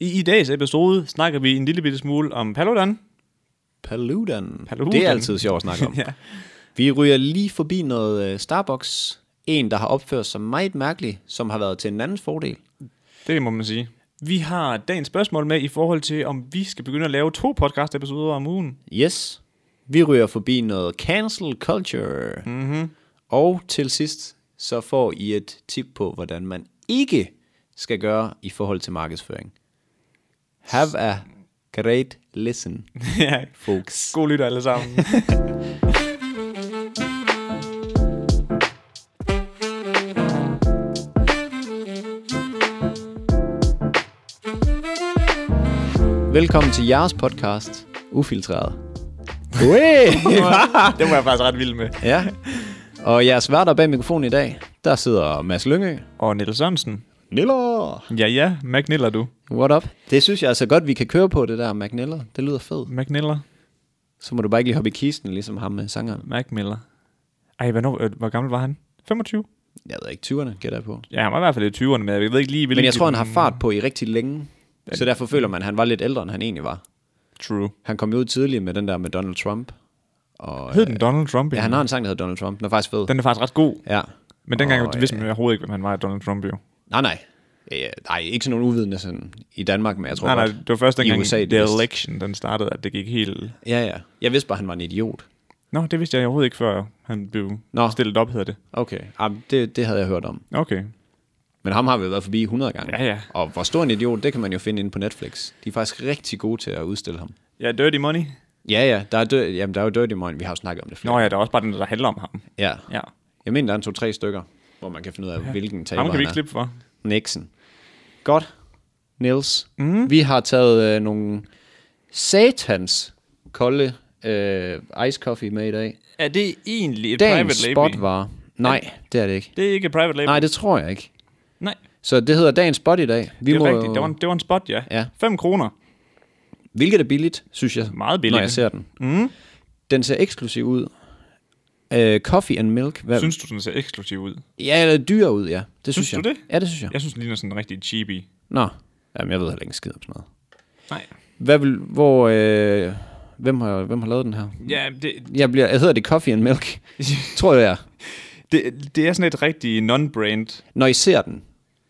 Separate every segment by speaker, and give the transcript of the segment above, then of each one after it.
Speaker 1: I, I dagens episode snakker vi en lille bitte smule om Paludan.
Speaker 2: Paludan.
Speaker 1: Paludan.
Speaker 2: Det er altid sjovt at snakke om.
Speaker 1: Ja.
Speaker 2: Vi ryger lige forbi noget øh, Starbucks. En, der har opført sig meget mærkeligt, som har været til en andens fordel.
Speaker 1: Det må man sige. Vi har dagens spørgsmål med i forhold til, om vi skal begynde at lave to podcast-episoder om ugen.
Speaker 2: Yes. Vi ryger forbi noget cancel culture. Mm-hmm. Og til sidst, så får I et tip på, hvordan man ikke skal gøre i forhold til markedsføring. Have a great listen,
Speaker 1: ja,
Speaker 2: folks.
Speaker 1: god lytter alle sammen.
Speaker 2: Velkommen til jeres podcast, Ufiltreret. Hey!
Speaker 1: det var jeg faktisk ret vild med.
Speaker 2: ja. Og jeres værter bag mikrofonen i dag, der sidder Mads Lyngø.
Speaker 1: Og Niels Sørensen.
Speaker 2: Niller!
Speaker 1: Ja, ja, McNiller du.
Speaker 2: What up? Det synes jeg altså godt, vi kan køre på det der, Mac Niller. Det lyder fedt.
Speaker 1: McNiller.
Speaker 2: Så må du bare ikke lige hoppe i kisten, ligesom ham med sangeren.
Speaker 1: McMiller. Ej, hvornår, øh, hvor gammel var han? 25?
Speaker 2: Jeg ved ikke, 20'erne gætter jeg på.
Speaker 1: Ja, han var i hvert fald i 20'erne, men jeg ved ikke lige, hvilken...
Speaker 2: Men jeg tror, han har fart på i rigtig længe. Så derfor føler man, at han var lidt ældre, end han egentlig var.
Speaker 1: True.
Speaker 2: Han kom jo ud tidligere med den der med Donald Trump. Og,
Speaker 1: Hed den Donald Trump?
Speaker 2: ja, han har en sang, der hedder Donald Trump. Den er faktisk fed.
Speaker 1: Den Øh, er faktisk ret god.
Speaker 2: Ja.
Speaker 1: Men dengang
Speaker 2: Og,
Speaker 1: oh, vidste man jo overhovedet ikke, hvem han var, Donald Trump jo.
Speaker 2: Nej, nej. Øh, nej, ikke sådan nogen uvidende sådan i Danmark, men jeg tror
Speaker 1: Nej, nej,
Speaker 2: godt.
Speaker 1: det var først
Speaker 2: I
Speaker 1: dengang
Speaker 2: USA, det
Speaker 1: The
Speaker 2: vidste.
Speaker 1: Election, den startede, at det gik helt...
Speaker 2: Ja, ja. Jeg vidste bare, han var en idiot.
Speaker 1: Nå, det vidste jeg overhovedet ikke, før han blev
Speaker 2: Nå.
Speaker 1: Nå. stillet op, hedder det.
Speaker 2: Okay, ah, det, det havde jeg hørt om.
Speaker 1: Okay.
Speaker 2: Men ham har vi jo været forbi 100 gange.
Speaker 1: Ja, ja.
Speaker 2: Og hvor stor en idiot, det kan man jo finde inde på Netflix. De er faktisk rigtig gode til at udstille ham.
Speaker 1: Ja, Dirty Money.
Speaker 2: Ja, ja, der er, dø- Jamen, der er jo Dirty Mind, vi har jo snakket om det flere.
Speaker 1: Nå ja, der er også bare den, der handler om ham.
Speaker 2: Ja.
Speaker 1: Ja.
Speaker 2: Jeg mener, der er en to-tre stykker, hvor man kan finde ud af, ja. hvilken taber
Speaker 1: Ham kan vi
Speaker 2: han
Speaker 1: ikke
Speaker 2: er.
Speaker 1: slippe for.
Speaker 2: Nixon. Godt. Niels,
Speaker 1: Mhm.
Speaker 2: mm. vi har taget øh, nogle satans kolde øh, ice coffee med i dag.
Speaker 1: Er det egentlig et
Speaker 2: Dagens spot var... Nej, det er det ikke.
Speaker 1: Det er ikke et private label.
Speaker 2: Nej, det tror jeg ikke.
Speaker 1: Nej.
Speaker 2: Så det hedder dagens spot i dag. Vi
Speaker 1: Det er
Speaker 2: må
Speaker 1: rigtigt.
Speaker 2: jo-
Speaker 1: Det var, en, det var en spot, ja.
Speaker 2: Ja.
Speaker 1: 5 kroner.
Speaker 2: Hvilket er billigt, synes jeg.
Speaker 1: Meget billigt.
Speaker 2: Når jeg ser den. Mm. Den ser eksklusiv ud. Øh, coffee and milk. Hvad?
Speaker 1: Synes du, den ser eksklusiv ud?
Speaker 2: Ja, eller dyr ud, ja. Det synes,
Speaker 1: Synes
Speaker 2: jeg.
Speaker 1: du det?
Speaker 2: Ja, det synes jeg. Ja.
Speaker 1: Jeg synes, den ligner sådan en rigtig cheapy.
Speaker 2: Nå, Jamen, jeg ved heller ikke en skid om sådan noget.
Speaker 1: Nej.
Speaker 2: Hvad vil, hvor, øh, hvem, har, hvem har lavet den her?
Speaker 1: Ja, det,
Speaker 2: Jeg bliver, jeg hedder det Coffee and Milk, tror jeg. det er.
Speaker 1: det, det er sådan et rigtig non-brand.
Speaker 2: Når I ser den,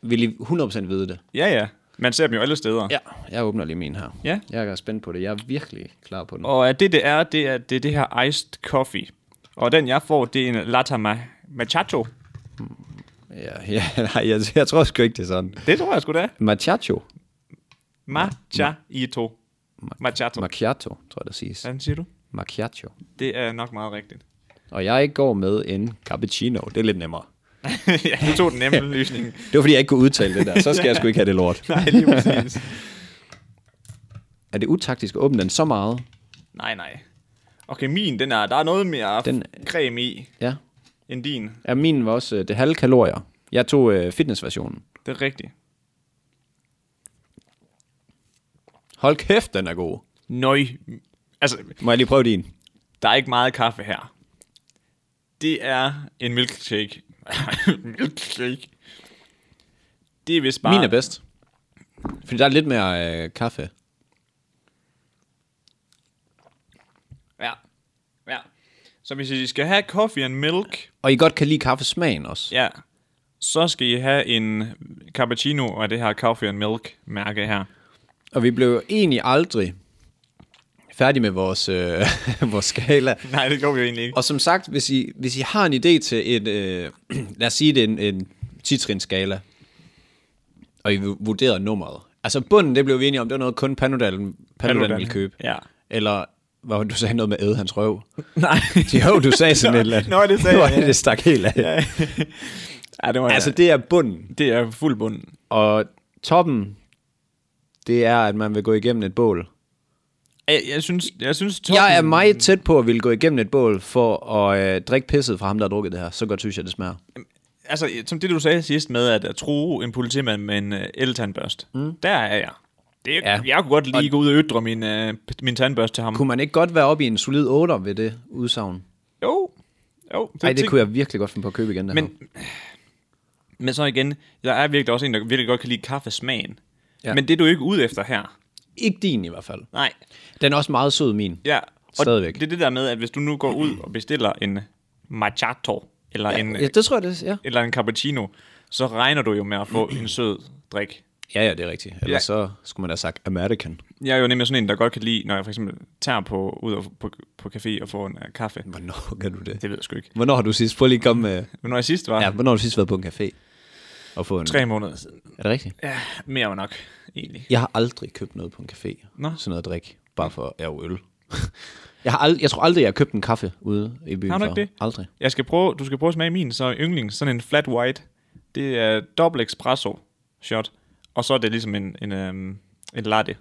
Speaker 2: vil I 100% vide det.
Speaker 1: Ja, ja. Man ser dem jo alle steder.
Speaker 2: Ja, jeg åbner lige min her.
Speaker 1: Ja.
Speaker 2: Jeg er spændt på det. Jeg er virkelig klar på den.
Speaker 1: Og at det, det er, det er det, er det her iced coffee. Og den, jeg får, det er en latte ma- machacho.
Speaker 2: Ja, ja, nej, jeg, jeg tror sgu ikke, det er sådan.
Speaker 1: Det tror jeg sgu da.
Speaker 2: Machacho.
Speaker 1: Machaito. Machato.
Speaker 2: Macchiato, tror jeg, det siges.
Speaker 1: Hvordan siger du?
Speaker 2: Macchiato.
Speaker 1: Det er nok meget rigtigt.
Speaker 2: Og jeg går med en cappuccino. Det er lidt nemmere.
Speaker 1: ja, du tog den nemme løsning.
Speaker 2: Det var, fordi jeg ikke kunne udtale det der. Så skal jeg sgu ikke have det lort.
Speaker 1: Nej, lige præcis.
Speaker 2: Er det utaktisk at åbne den så meget?
Speaker 1: Nej, nej. Okay, min, den er, der er noget mere den...
Speaker 2: Den-
Speaker 1: creme i,
Speaker 2: Ja.
Speaker 1: end din.
Speaker 2: Ja, min var også øh, det halve kalorier. Jeg tog øh, fitnessversionen.
Speaker 1: Det er rigtigt.
Speaker 2: Hold kæft, den er god.
Speaker 1: Nøj. Altså,
Speaker 2: Må jeg lige prøve din?
Speaker 1: der er ikke meget kaffe her. Det er en milkshake. milkshake. Det er vist bare...
Speaker 2: Bare. Min er bedst. Fordi der er lidt mere øh, kaffe.
Speaker 1: Ja. ja. Så hvis I skal have coffee and milk,
Speaker 2: Og I godt kan lide kaffesmagen også.
Speaker 1: ja, så skal I have en cappuccino af det her coffee and milk mærke her.
Speaker 2: Og vi blev egentlig aldrig færdige med vores, øh, vores skala.
Speaker 1: Nej, det går vi jo egentlig ikke.
Speaker 2: Og som sagt, hvis I, hvis I har en idé til et, øh, lad os sige det, er en, en 10 skala, og I vurderer nummeret. Altså bunden, det blev vi enige om, det var noget kun Panudan, Panudan ville købe.
Speaker 1: Ja.
Speaker 2: Eller, hvad du sagde noget med æde hans røv.
Speaker 1: Nej.
Speaker 2: Jo, du sagde sådan
Speaker 1: Nå,
Speaker 2: et eller andet.
Speaker 1: nå, det sagde
Speaker 2: det var,
Speaker 1: jeg, ja.
Speaker 2: Det stak helt af. Ja.
Speaker 1: ja, det var
Speaker 2: Altså, det er bunden.
Speaker 1: det er fuld bund.
Speaker 2: Og toppen, det er, at man vil gå igennem et bål.
Speaker 1: Jeg, jeg synes, jeg synes toppen,
Speaker 2: Jeg er meget tæt på at ville gå igennem et bål for at øh, drikke pisset fra ham, der har drukket det her. Så godt synes jeg, det smager.
Speaker 1: altså, som det du sagde sidst med, at, at tro en politimand med en uh, eltandbørst. Mm. Der er jeg. Det,
Speaker 2: Ja.
Speaker 1: ja. Jeg kunne godt lige gå ud og ytre min, uh, min tandbørst til ham.
Speaker 2: Mm. Kunne man ikke godt være oppe i en solid 8'er ved det udsagn?
Speaker 1: Jo. Jo.
Speaker 2: Nej, det
Speaker 1: tænk-
Speaker 2: kunne jeg virkelig godt finde på at købe igen. Det
Speaker 1: Men, men så igen, jeg er virkelig også en, der virkelig godt kan lide kaffesmagen.
Speaker 2: Ja.
Speaker 1: Ja. Men det er du ikke ude efter her.
Speaker 2: Ikke din i hvert fald.
Speaker 1: Nej.
Speaker 2: Den er også meget sød, min.
Speaker 1: Ja. Og
Speaker 2: Stadigvæk.
Speaker 1: det er det der med, at hvis du nu går ud og bestiller en macchiato, eller, ja, en,
Speaker 2: Ja, det tror jeg, det er. Ja,
Speaker 1: eller en cappuccino, så regner du jo med at få en sød drik.
Speaker 2: ja, ja det er rigtigt. Ellers ja.
Speaker 1: Ja.
Speaker 2: så skulle man da have sagt American.
Speaker 1: Jeg er jo nemlig sådan en, der godt kan lide, når jeg for eksempel tager på, ud og, på, på café og får en uh, kaffe.
Speaker 2: Hvornår gør du det?
Speaker 1: Det ved jeg sgu ikke.
Speaker 2: Hvornår har du sidst, prøv lige at komme med,
Speaker 1: Men når jeg sidst var,
Speaker 2: ja,
Speaker 1: ja.
Speaker 2: hvornår har du sidst været på en café? Og få en,
Speaker 1: tre måneder siden,
Speaker 2: er det rigtigt?
Speaker 1: ja, mere var nok, egentlig.
Speaker 2: Jeg har aldrig købt noget på en café.
Speaker 1: Nå.
Speaker 2: Sådan noget at drikke, bare for ja, jo, øl. jeg, har ald- jeg tror aldrig, jeg har købt en kaffe ude i byen
Speaker 1: Har du
Speaker 2: før.
Speaker 1: ikke det?
Speaker 2: Aldrig.
Speaker 1: Jeg skal prøve, du skal prøve at smage min, så yndlings, sådan en flat white. Det er dobbelt espresso shot, og så er det ligesom en, en, øhm, en latte.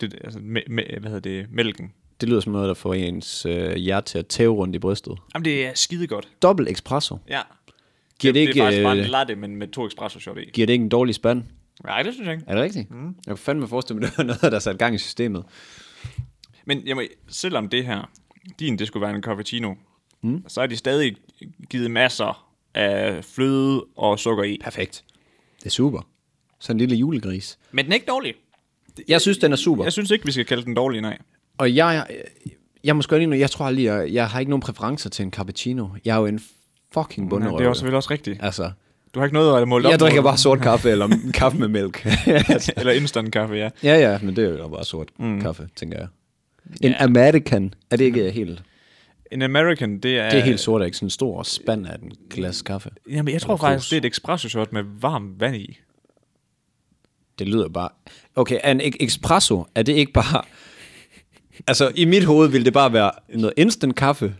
Speaker 1: Det, altså, me, me, hvad hedder det, mælken.
Speaker 2: Det lyder som noget, der får ens øh, hjerte til at tæve rundt i brystet.
Speaker 1: Jamen, det er skide godt.
Speaker 2: Dobbelt espresso.
Speaker 1: Ja.
Speaker 2: Giver
Speaker 1: det,
Speaker 2: det,
Speaker 1: det
Speaker 2: ikke,
Speaker 1: er faktisk bare
Speaker 2: øh,
Speaker 1: en latte, men med to espresso shot i.
Speaker 2: Giver det ikke en dårlig spand?
Speaker 1: Nej, det synes jeg ikke.
Speaker 2: Er det rigtigt? Mm. Jeg kan fandme forestille mig, at det var noget, der satte gang i systemet.
Speaker 1: Men jeg må, selvom det her, din, det skulle være en cappuccino,
Speaker 2: Hmm?
Speaker 1: mm. så har de stadig givet masser af fløde og sukker i.
Speaker 2: Perfekt. Det er super. Så en lille julegris.
Speaker 1: Men den er ikke dårlig.
Speaker 2: Jeg synes, den er super.
Speaker 1: Jeg synes ikke, vi skal kalde den dårlig, nej.
Speaker 2: Og jeg, jeg, jeg må sgu lige nu, jeg tror aldrig, jeg, jeg har ikke nogen præferencer til en cappuccino. Jeg er jo en fucking
Speaker 1: nej
Speaker 2: bunderøv.
Speaker 1: det er jo selvfølgelig også rigtigt.
Speaker 2: Altså,
Speaker 1: Du har ikke noget at måle op
Speaker 2: jeg drikker
Speaker 1: mod.
Speaker 2: bare sort kaffe, eller kaffe med mælk.
Speaker 1: Eller instant kaffe, ja.
Speaker 2: ja, ja, men det er jo bare sort mm. kaffe, tænker jeg. En ja. American, er det ikke helt...
Speaker 1: En American, det er...
Speaker 2: Det er helt sort, er ikke sådan en stor spand af en glas kaffe.
Speaker 1: Jamen, jeg tror faktisk, det er et espresso shot med varmt vand i.
Speaker 2: Det lyder bare... Okay, er en e- espresso, er det ikke bare... Altså, i mit hoved ville det bare være noget instant kaffe,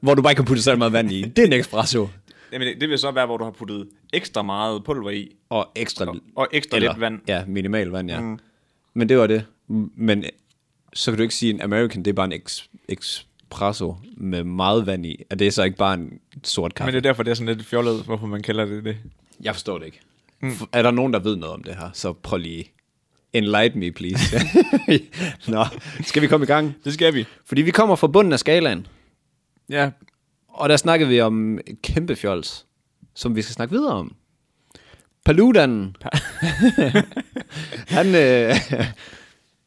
Speaker 2: hvor du bare kan putte så meget vand i. Det er en espresso.
Speaker 1: Jamen, det, det vil så være, hvor du har puttet ekstra meget pulver i,
Speaker 2: Og ekstra...
Speaker 1: og ekstra lidt vand.
Speaker 2: Ja, minimal vand, ja. Mm. Men det var det. M- Men øh, så kan du ikke sige, en American, det er bare en ex- espresso med meget vand i. Og det er så ikke bare en sort
Speaker 1: Men
Speaker 2: kaffe.
Speaker 1: det er derfor, det er sådan lidt fjollet, hvorfor man kalder det det.
Speaker 2: Jeg forstår det ikke. Mm. Er der nogen, der ved noget om det her? Så prøv lige... Enlighten me, please. Nå, skal vi komme i gang?
Speaker 1: Det skal vi.
Speaker 2: Fordi vi kommer fra bunden af skalaen,
Speaker 1: Ja,
Speaker 2: og der snakkede vi om et kæmpe fjols, som vi skal snakke videre om. Paludan, han, øh,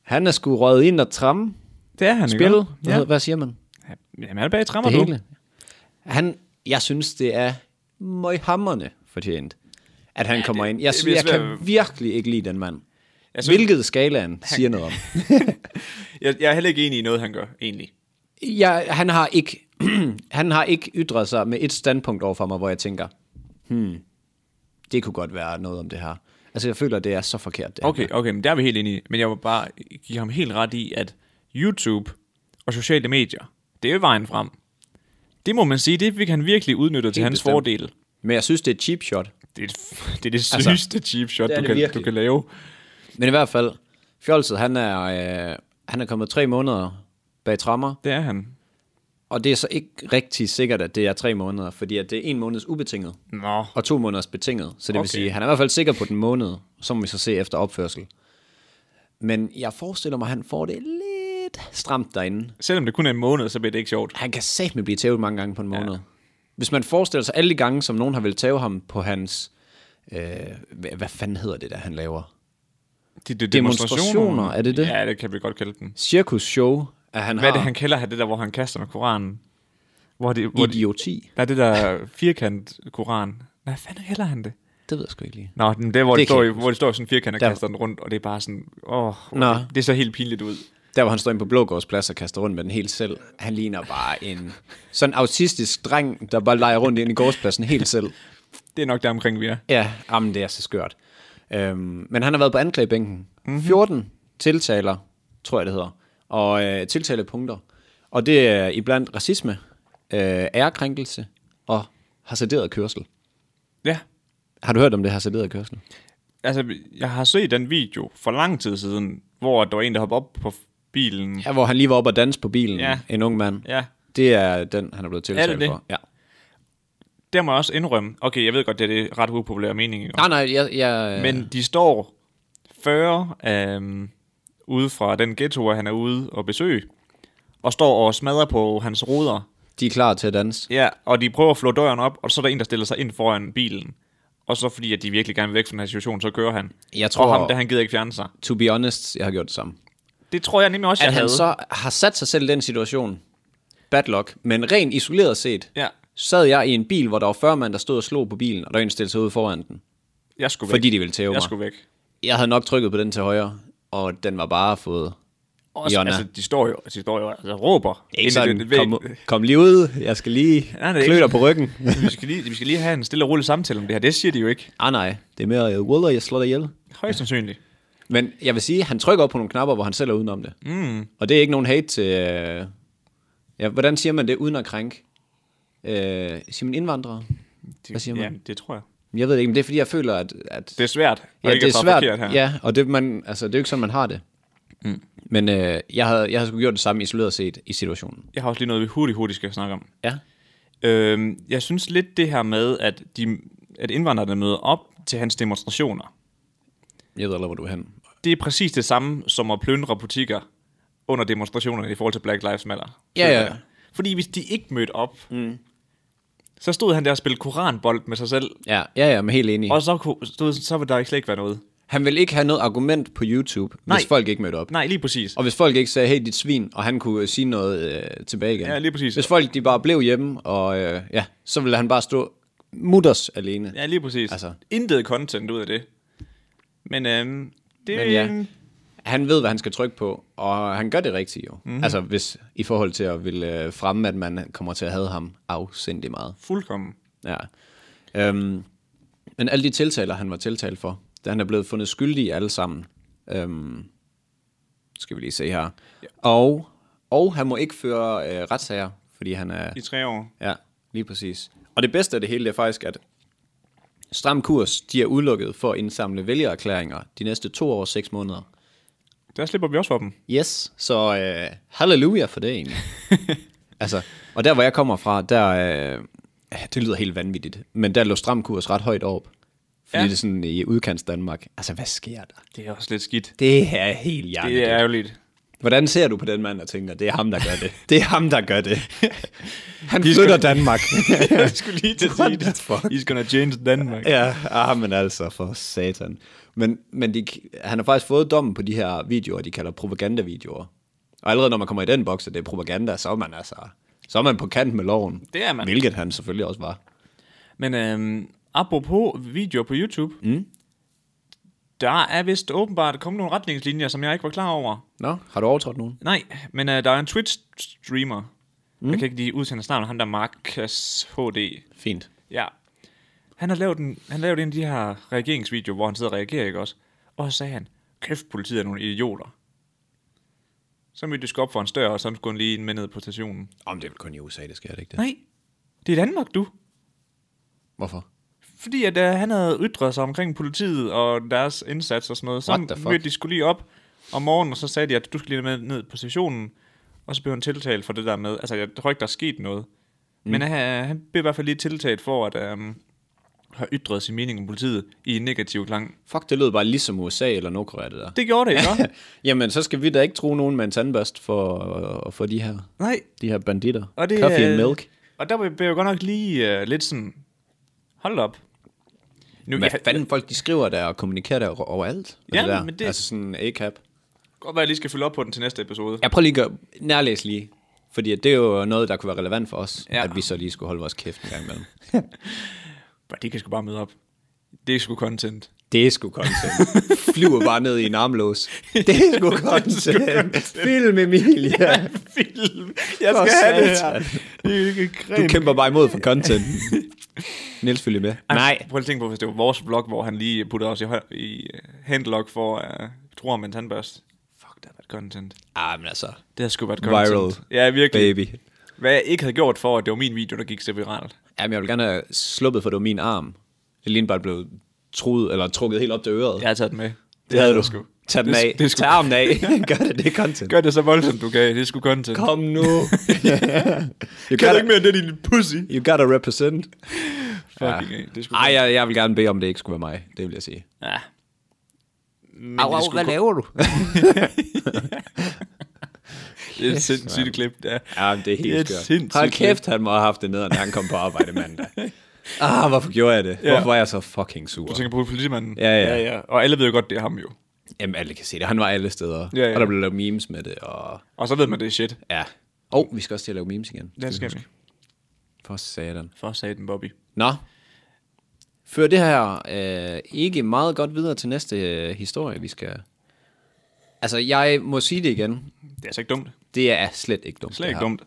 Speaker 2: han er sgu røget ind og tramme,
Speaker 1: det er han ikke?
Speaker 2: spillet,
Speaker 1: også?
Speaker 2: ja. hvad siger man?
Speaker 1: Ja. Jamen, han er bag i trammer
Speaker 2: Det
Speaker 1: nu.
Speaker 2: hele. Han, jeg synes, det er møghamrende fortjent, at han ja, kommer ind. Jeg,
Speaker 1: det
Speaker 2: det,
Speaker 1: bliver
Speaker 2: jeg
Speaker 1: svært
Speaker 2: kan virkelig ikke lide den mand.
Speaker 1: Jeg
Speaker 2: Synes,
Speaker 1: synes-
Speaker 2: Hvilket skalaen siger noget om.
Speaker 1: Jeg, jeg er heller ikke enig i noget, han gør, egentlig.
Speaker 2: Ja, han har ikke han har ikke ytret sig med et standpunkt over for mig, hvor jeg tænker, hmm, det kunne godt være noget om det her. Altså, jeg føler, det er så forkert. Det her.
Speaker 1: Okay, okay, men der er vi helt enige. Men jeg vil bare give ham helt ret i, at YouTube og sociale medier, det er vejen frem. Det må man sige, det fik han virkelig udnyttet til hans
Speaker 2: bestemt.
Speaker 1: bestemt. fordel.
Speaker 2: Men jeg synes, det er et cheap shot.
Speaker 1: Det er det, det, er det altså, sygeste cheap shot,
Speaker 2: det er
Speaker 1: du,
Speaker 2: det
Speaker 1: kan,
Speaker 2: virkelig.
Speaker 1: du kan lave.
Speaker 2: Men i hvert fald, Fjolset, han er, øh, han er kommet tre måneder bag trammer,
Speaker 1: Det er han.
Speaker 2: og det er så ikke rigtig sikkert, at det er tre måneder, fordi at det er en måneds ubetinget,
Speaker 1: Nå.
Speaker 2: og to måneders betinget. Så det okay. vil
Speaker 1: Okay.
Speaker 2: sige, at han er i hvert fald sikker på den måned, så må vi så se efter opførsel. Men jeg forestiller mig, at han får det lidt stramt derinde.
Speaker 1: Selvom det kun er en måned, så bliver det ikke sjovt.
Speaker 2: Han kan satme blive tævet mange gange på en måned. Ja. Hvis man forestiller sig alle de gange, som nogen har ville tæve ham på hans... Øh, hvad, hvad fanden hedder det, der han laver?
Speaker 1: De, de
Speaker 2: Demonstrationer, er det det?
Speaker 1: Ja, det kan vi godt kalde dem.
Speaker 2: Cirkusshow, at han
Speaker 1: Hvad er
Speaker 2: har
Speaker 1: det, han kalder her, det der, hvor han kaster med koranen? Hvor det, hvor det,
Speaker 2: idioti.
Speaker 1: der er det der firkant koran. Nej, Hvad fanden kalder han det?
Speaker 2: Det ved jeg sgu ikke lige.
Speaker 1: Nå, den der, hvor det,
Speaker 2: Det
Speaker 1: det
Speaker 2: kan
Speaker 1: står,
Speaker 2: jeg
Speaker 1: i- hvor det står i sådan en firkant og
Speaker 2: Der-
Speaker 1: kaster den rundt, og det er bare sådan, åh,
Speaker 2: Nå.
Speaker 1: det er så helt pinligt ud.
Speaker 2: Der, hvor han står inde på Blågårdsplads og kaster rundt med den helt selv. Han ligner bare en sådan autistisk dreng, der bare leger rundt ind i gårdspladsen helt selv.
Speaker 1: Det er nok der omkring, vi er.
Speaker 2: Ja, jamen, det er så skørt. Øhm, men han har været på anklagebænken. Mm-hmm. 14 tiltaler, tror jeg det hedder, og øh, tiltalepunkter. Og det er iblandt racisme, øh, ærekrænkelse og hasarderet kørsel.
Speaker 1: Ja,
Speaker 2: Har du hørt om det hasarderet kørsel?
Speaker 1: altså, jeg har set den video for lang tid siden, hvor der var en, der hoppede op på f- bilen.
Speaker 2: Ja, hvor han lige var oppe og danse på bilen, ja.
Speaker 1: Ja.
Speaker 2: en ung mand.
Speaker 1: Ja.
Speaker 2: Det er den, han er blevet tiltalt
Speaker 1: Er det det?
Speaker 2: for. Ja.
Speaker 1: Der må jeg også indrømme, okay, jeg ved godt, det er det ret upopulære mening,
Speaker 2: Nej, nej, jeg... jeg øh, men...
Speaker 1: men de står 40 øhm, ude fra den ghetto, han er ude og besøge, og står og smadrer på hans ruder.
Speaker 2: De er klar til at danse.
Speaker 1: Ja, og de prøver at flå døren op, og så er der en, der stiller sig ind foran bilen. og så fordi, at de virkelig gerne vil væk fra den her situation, så kører han.
Speaker 2: Jeg
Speaker 1: Tror
Speaker 2: tror-
Speaker 1: og ham, der han gider ikke fjerne sig.
Speaker 2: To be honest, jeg har gjort det samme.
Speaker 1: Det tror jeg nemlig også,
Speaker 2: At
Speaker 1: jeg
Speaker 2: han
Speaker 1: havde.
Speaker 2: så har sat sig selv i den situation, bad luck, men rent isoleret set,
Speaker 1: Ja,
Speaker 2: sad jeg i en bil, hvor der var 40 mand, der stod og slog på bilen, og der var en der stillede sig ud foran den,
Speaker 1: jeg skulle væk.
Speaker 2: fordi de ville tæve mig.
Speaker 1: jeg skulle væk.
Speaker 2: Jeg havde nok trykket på den til højre, og den var bare fået
Speaker 1: Også,
Speaker 2: Jonna.
Speaker 1: altså, de står jo, de står jo altså, råber.
Speaker 2: Ikke
Speaker 1: ind i
Speaker 2: sådan,
Speaker 1: den væg.
Speaker 2: kom, kom lige ud, jeg skal lige
Speaker 1: Nej, det er
Speaker 2: klø dig
Speaker 1: ikke-
Speaker 2: på ryggen.
Speaker 1: vi, skal lige, vi skal lige have en stille og rolig samtale om det her. Det siger de jo ikke.
Speaker 2: ah nej, det er mere, jeg ruller, jeg slår dig ihjel.
Speaker 1: Højst sandsynligt.
Speaker 2: Men jeg vil sige, han trykker op på nogle knapper, hvor han selv er udenom det. Mm. Og det er ikke nogen hate til... Øh... Ja, hvordan siger man det uden at krænke? Øh, siger man indvandrere? Hvad siger man?
Speaker 1: Ja, det tror jeg.
Speaker 2: Jeg ved det ikke, men det er fordi, jeg føler, at... at
Speaker 1: Det er svært. at
Speaker 2: ja,
Speaker 1: ikke
Speaker 2: det
Speaker 1: at
Speaker 2: er
Speaker 1: træffe
Speaker 2: svært.
Speaker 1: forkert her.
Speaker 2: Ja, og det, man, altså, det er jo ikke sådan, man har det. Mm. Men øh, jeg havde, jeg havde sgu gjort det samme isoleret set i situationen.
Speaker 1: Jeg har også lige noget, vi hurtigt, hurtigt skal snakke om.
Speaker 2: Ja.
Speaker 1: Øhm, jeg synes lidt det her med, at, de, at indvandrerne møder op til hans demonstrationer.
Speaker 2: Jeg ved aldrig, hvor du er hen.
Speaker 1: Det er præcis det samme som at plyndre butikker under demonstrationerne i forhold til Black Lives Matter.
Speaker 2: Ja,
Speaker 1: føler
Speaker 2: ja.
Speaker 1: jeg. Fordi hvis de ikke mødte op, mm. så stod han der og spillede koranbold med sig selv,
Speaker 2: Ja, ja, ja, men helt enig.
Speaker 1: og så, kunne- stod, så ville der ikke slet ikke være noget.
Speaker 2: Han ville ikke have noget argument på YouTube, Nej.
Speaker 1: Nej.
Speaker 2: hvis folk ikke mødte op.
Speaker 1: Nej, lige præcis.
Speaker 2: Og hvis folk ikke sagde, hey, dit svin, og han kunne øh, sige noget øh, tilbage igen.
Speaker 1: Ja, lige præcis.
Speaker 2: Hvis folk de bare blev hjemme, og øh, ja, så ville han bare stå mutters alene. Ja.
Speaker 1: Ja, lige præcis.
Speaker 2: Altså.
Speaker 1: Altså. Intet content ud af det. Men øhm, det...
Speaker 2: Men ja, han ved, hvad han skal trykke på, og han gør det rigtigt jo.
Speaker 1: Mhm.
Speaker 2: Mm-hmm. Altså hvis, i forhold til at ville øh, fremme, at man kommer til at have ham afsindig meget.
Speaker 1: Fuldkommen.
Speaker 2: Ja. Øhm, men alle de tiltaler, han var tiltalt for, da han er blevet fundet skyldig i alle sammen. Øhm, skal vi lige se her. Ja. Og, og han må ikke føre øh, retssager, fordi han er...
Speaker 1: I tre år.
Speaker 2: Ja, lige præcis. Og det bedste af det hele det er faktisk, at Stram Kurs, de er udelukket for at indsamle vælgererklæringer de næste to år og seks måneder.
Speaker 1: Der slipper vi også for dem.
Speaker 2: Yes, så øh, halleluja for det egentlig. altså, og der hvor jeg kommer fra, der, øh, det lyder helt vanvittigt, men der lå Stram Kurs ret højt op. Fordi ja.
Speaker 1: Ja.
Speaker 2: det er sådan i udkants Danmark. Altså, hvad sker der?
Speaker 1: Det er også lidt skidt.
Speaker 2: Det er helt
Speaker 1: Det
Speaker 2: hjertet.
Speaker 1: er
Speaker 2: Er...
Speaker 1: ærgerligt.
Speaker 2: Hvordan ser du på den mand og tænker, det er ham, der gør det? Det er ham, der gør det. Han
Speaker 1: De skal-
Speaker 2: flytter Danmark.
Speaker 1: jeg skulle lige til at sige
Speaker 2: What the
Speaker 1: det.
Speaker 2: fuck?
Speaker 1: He's gonna change Danmark.
Speaker 2: Ja, ah, men altså, for satan. Men, men de, han har faktisk fået dommen på de her videoer, de kalder propagandavideoer. Og allerede når man kommer i den boks, at det er propaganda, så er man altså... Så er man på kant med loven.
Speaker 1: Det er man.
Speaker 2: Hvilket han selvfølgelig også var.
Speaker 1: Men øhm, apropos videoer på YouTube. Mm. Der er vist åbenbart kommet nogle retningslinjer, som jeg ikke var klar over.
Speaker 2: Nå, har du overtrådt nogen?
Speaker 1: Nej, men øh, der er en Twitch-streamer. Mm. Jeg kan ikke lige udsende hans navn. Han der er Marcus HD.
Speaker 2: Fint.
Speaker 1: Ja. Han har lavet en, han lavede en af de her reageringsvideoer, hvor han sidder og reagerer, ikke også? Og så sagde han, kæft, politiet er nogle idioter. Så mødte de skulle op for en større, og så skulle han lige med ned på stationen.
Speaker 2: Om det er vel kun i USA, det sker det ikke det?
Speaker 1: Nej, det er Danmark, du.
Speaker 2: Hvorfor?
Speaker 1: Fordi at, uh, han havde ytret sig omkring politiet og deres indsats og sådan noget.
Speaker 2: What the
Speaker 1: Så
Speaker 2: fuck?
Speaker 1: mødte de skulle lige op om morgenen, og så sagde de, at du skal lige med ned på stationen. Og så blev han tiltalt for det der med, altså jeg tror ikke, der er sket noget. Mm. Men uh, han blev i hvert fald lige tiltalt for at um, have ytret sin mening om politiet i en negativ klang.
Speaker 2: Fuck, det lød bare ligesom USA eller Nordkorea, det der.
Speaker 1: Det gjorde det, ikke?
Speaker 2: Jamen, så skal vi da ikke tro nogen med en tandbørst for at få de her,
Speaker 1: Nej,
Speaker 2: de her banditter.
Speaker 1: og det
Speaker 2: Coffee and
Speaker 1: øh,
Speaker 2: milk.
Speaker 1: Og der blev jeg godt nok lige uh, lidt sådan, hold op. Nu,
Speaker 2: Hvad
Speaker 1: jeg,
Speaker 2: fanden folk de skriver der og kommunikerer der overalt? og
Speaker 1: Ja,
Speaker 2: det der.
Speaker 1: men det-
Speaker 2: Altså sådan A-cap.
Speaker 1: godt være, jeg lige skal følge op på den til næste episode.
Speaker 2: Jeg prøver lige at gøre, nærlæs lige. Fordi at det er jo noget, der kunne være relevant for os, ja.
Speaker 1: Ja.
Speaker 2: at vi så lige skulle holde vores kæft en gang imellem.
Speaker 1: Ja. De kan sgu bare møde op. Det er sgu content.
Speaker 2: Det er sgu content. Flyver bare ned i en armlås. Det er sgu content. Film, Emilia.
Speaker 1: film.
Speaker 2: For
Speaker 1: Jeg skal have det
Speaker 2: satan.
Speaker 1: her. Det er ikke creme.
Speaker 2: Du kæmper bare imod for content. Niels følger med.
Speaker 1: Altså-
Speaker 2: Nej.
Speaker 1: Prøv at tænke på, hvis det var vores vlog, hvor han lige puttede os i, hø- i øh, handlock for uh, tror med en tandbørst. Fuck, der har været content.
Speaker 2: Ah, men altså.
Speaker 1: Det har sgu været
Speaker 2: Viral,
Speaker 1: content. ja, virkelig.
Speaker 2: Baby.
Speaker 1: Hvad jeg ikke havde gjort for, at det var min video, der gik så viralt.
Speaker 2: Jamen, jeg vil gerne have sluppet for, det var min arm. Det lignede bare blev truet, eller trukket helt op til øret.
Speaker 1: Jeg har taget den med. Det,
Speaker 2: Tag den
Speaker 1: Det-
Speaker 2: af.
Speaker 1: det er sgu-
Speaker 2: Tag armen af. Gør det, det er content.
Speaker 1: Gør det så voldsomt, du kan. Det er sgu content.
Speaker 2: Kom nu. you,
Speaker 1: Kan du
Speaker 2: gotta,
Speaker 1: ikke mere end det, din pussy?
Speaker 2: you gotta represent.
Speaker 1: Fucking ja. Det er sgu
Speaker 2: Ej, jeg, jeg vil gerne bede om, det ikke skulle være mig. Det vil jeg sige.
Speaker 1: Ja. Men det er sgu kun-
Speaker 2: laver du?
Speaker 1: Det er et sindssygt klip, der.
Speaker 2: ja, men det er
Speaker 1: Det er
Speaker 2: helt
Speaker 1: et
Speaker 2: skørt.
Speaker 1: sindssygt
Speaker 2: Hold kæft, han må have haft det ned, når han kom på arbejde mandag. Ah, hvorfor gjorde jeg det?
Speaker 1: Ja.
Speaker 2: Hvorfor var jeg så fucking sur?
Speaker 1: Du tænker på politimanden?
Speaker 2: Ja, ja.
Speaker 1: ja, ja. Og alle ved jo godt, det er ham jo.
Speaker 2: Jamen, alle kan se det. Han var alle steder.
Speaker 1: Ja, ja.
Speaker 2: Og der blev lavet memes med det, og
Speaker 1: Og så ved man, det er shit.
Speaker 2: ja. Og oh, vi skal også til at lave memes igen.
Speaker 1: Det skal vi.
Speaker 2: For satan.
Speaker 1: For satan, Bobby.
Speaker 2: Nå. Fører det her øh, ikke meget godt videre til næste øh, historie, vi skal... Altså, jeg må sige det igen.
Speaker 1: Det er altså ikke dumt.
Speaker 2: Det er slet ikke dumt.
Speaker 1: Slet
Speaker 2: det
Speaker 1: ikke
Speaker 2: her.
Speaker 1: dumt.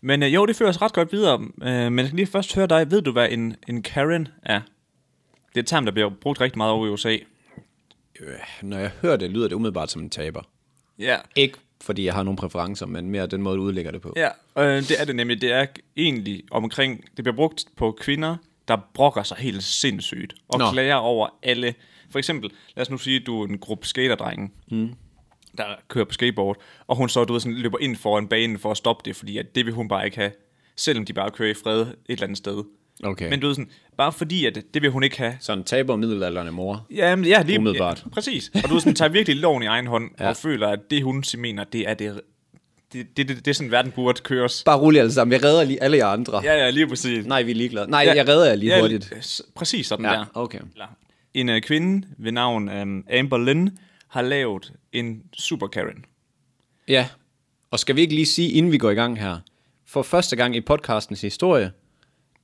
Speaker 1: Men øh, jo, det fører os ret godt videre. Øh, men jeg skal lige først høre dig. Ved du, hvad en, en Karen er? Det er et term, der bliver brugt rigtig meget over i USA.
Speaker 2: Øh, når jeg hører det, lyder det umiddelbart som en taber.
Speaker 1: Ja.
Speaker 2: Ikke fordi jeg har nogle præferencer, men mere den måde, du udlægger det på.
Speaker 1: Ja, øh, det er det nemlig. Det er egentlig omkring... Det bliver brugt på kvinder, der brokker sig helt sindssygt. Og
Speaker 2: Nå.
Speaker 1: Nå. klager over alle... For eksempel, lad os nu sige, at du er en gruppe skaterdrenge. Mm. der kører på skateboard, og hun så, du ved, sådan, løber ind foran banen for at stoppe det, fordi at det vil hun bare ikke have, selvom de bare kører i fred et eller andet sted.
Speaker 2: Okay.
Speaker 1: Men du ved sådan, bare fordi, at det vil hun ikke have.
Speaker 2: Sådan taber middelalderne mor.
Speaker 1: Ja, men, ja lige
Speaker 2: Umiddelbart.
Speaker 1: Ja, præcis. Og du ved sådan, tager virkelig loven i egen hånd, ja. og føler, at det hun mener, det er det, det, det, det, det er sådan, verden burde køres.
Speaker 2: Bare rolig alle sammen. Jeg redder lige alle jer andre.
Speaker 1: Ja, ja, lige præcis.
Speaker 2: Nej, vi er ligeglade. Nej,
Speaker 1: Ja.
Speaker 2: jeg redder jer lige hurtigt.
Speaker 1: s- Præcis sådan
Speaker 2: Ja,
Speaker 1: der.
Speaker 2: okay.
Speaker 1: Eller, En øh, kvinde ved navn um, Amber Lynn har lavet en super Karen.
Speaker 2: Ja. Og skal vi ikke lige sige, inden vi går i gang her. For første gang i podcastens historie,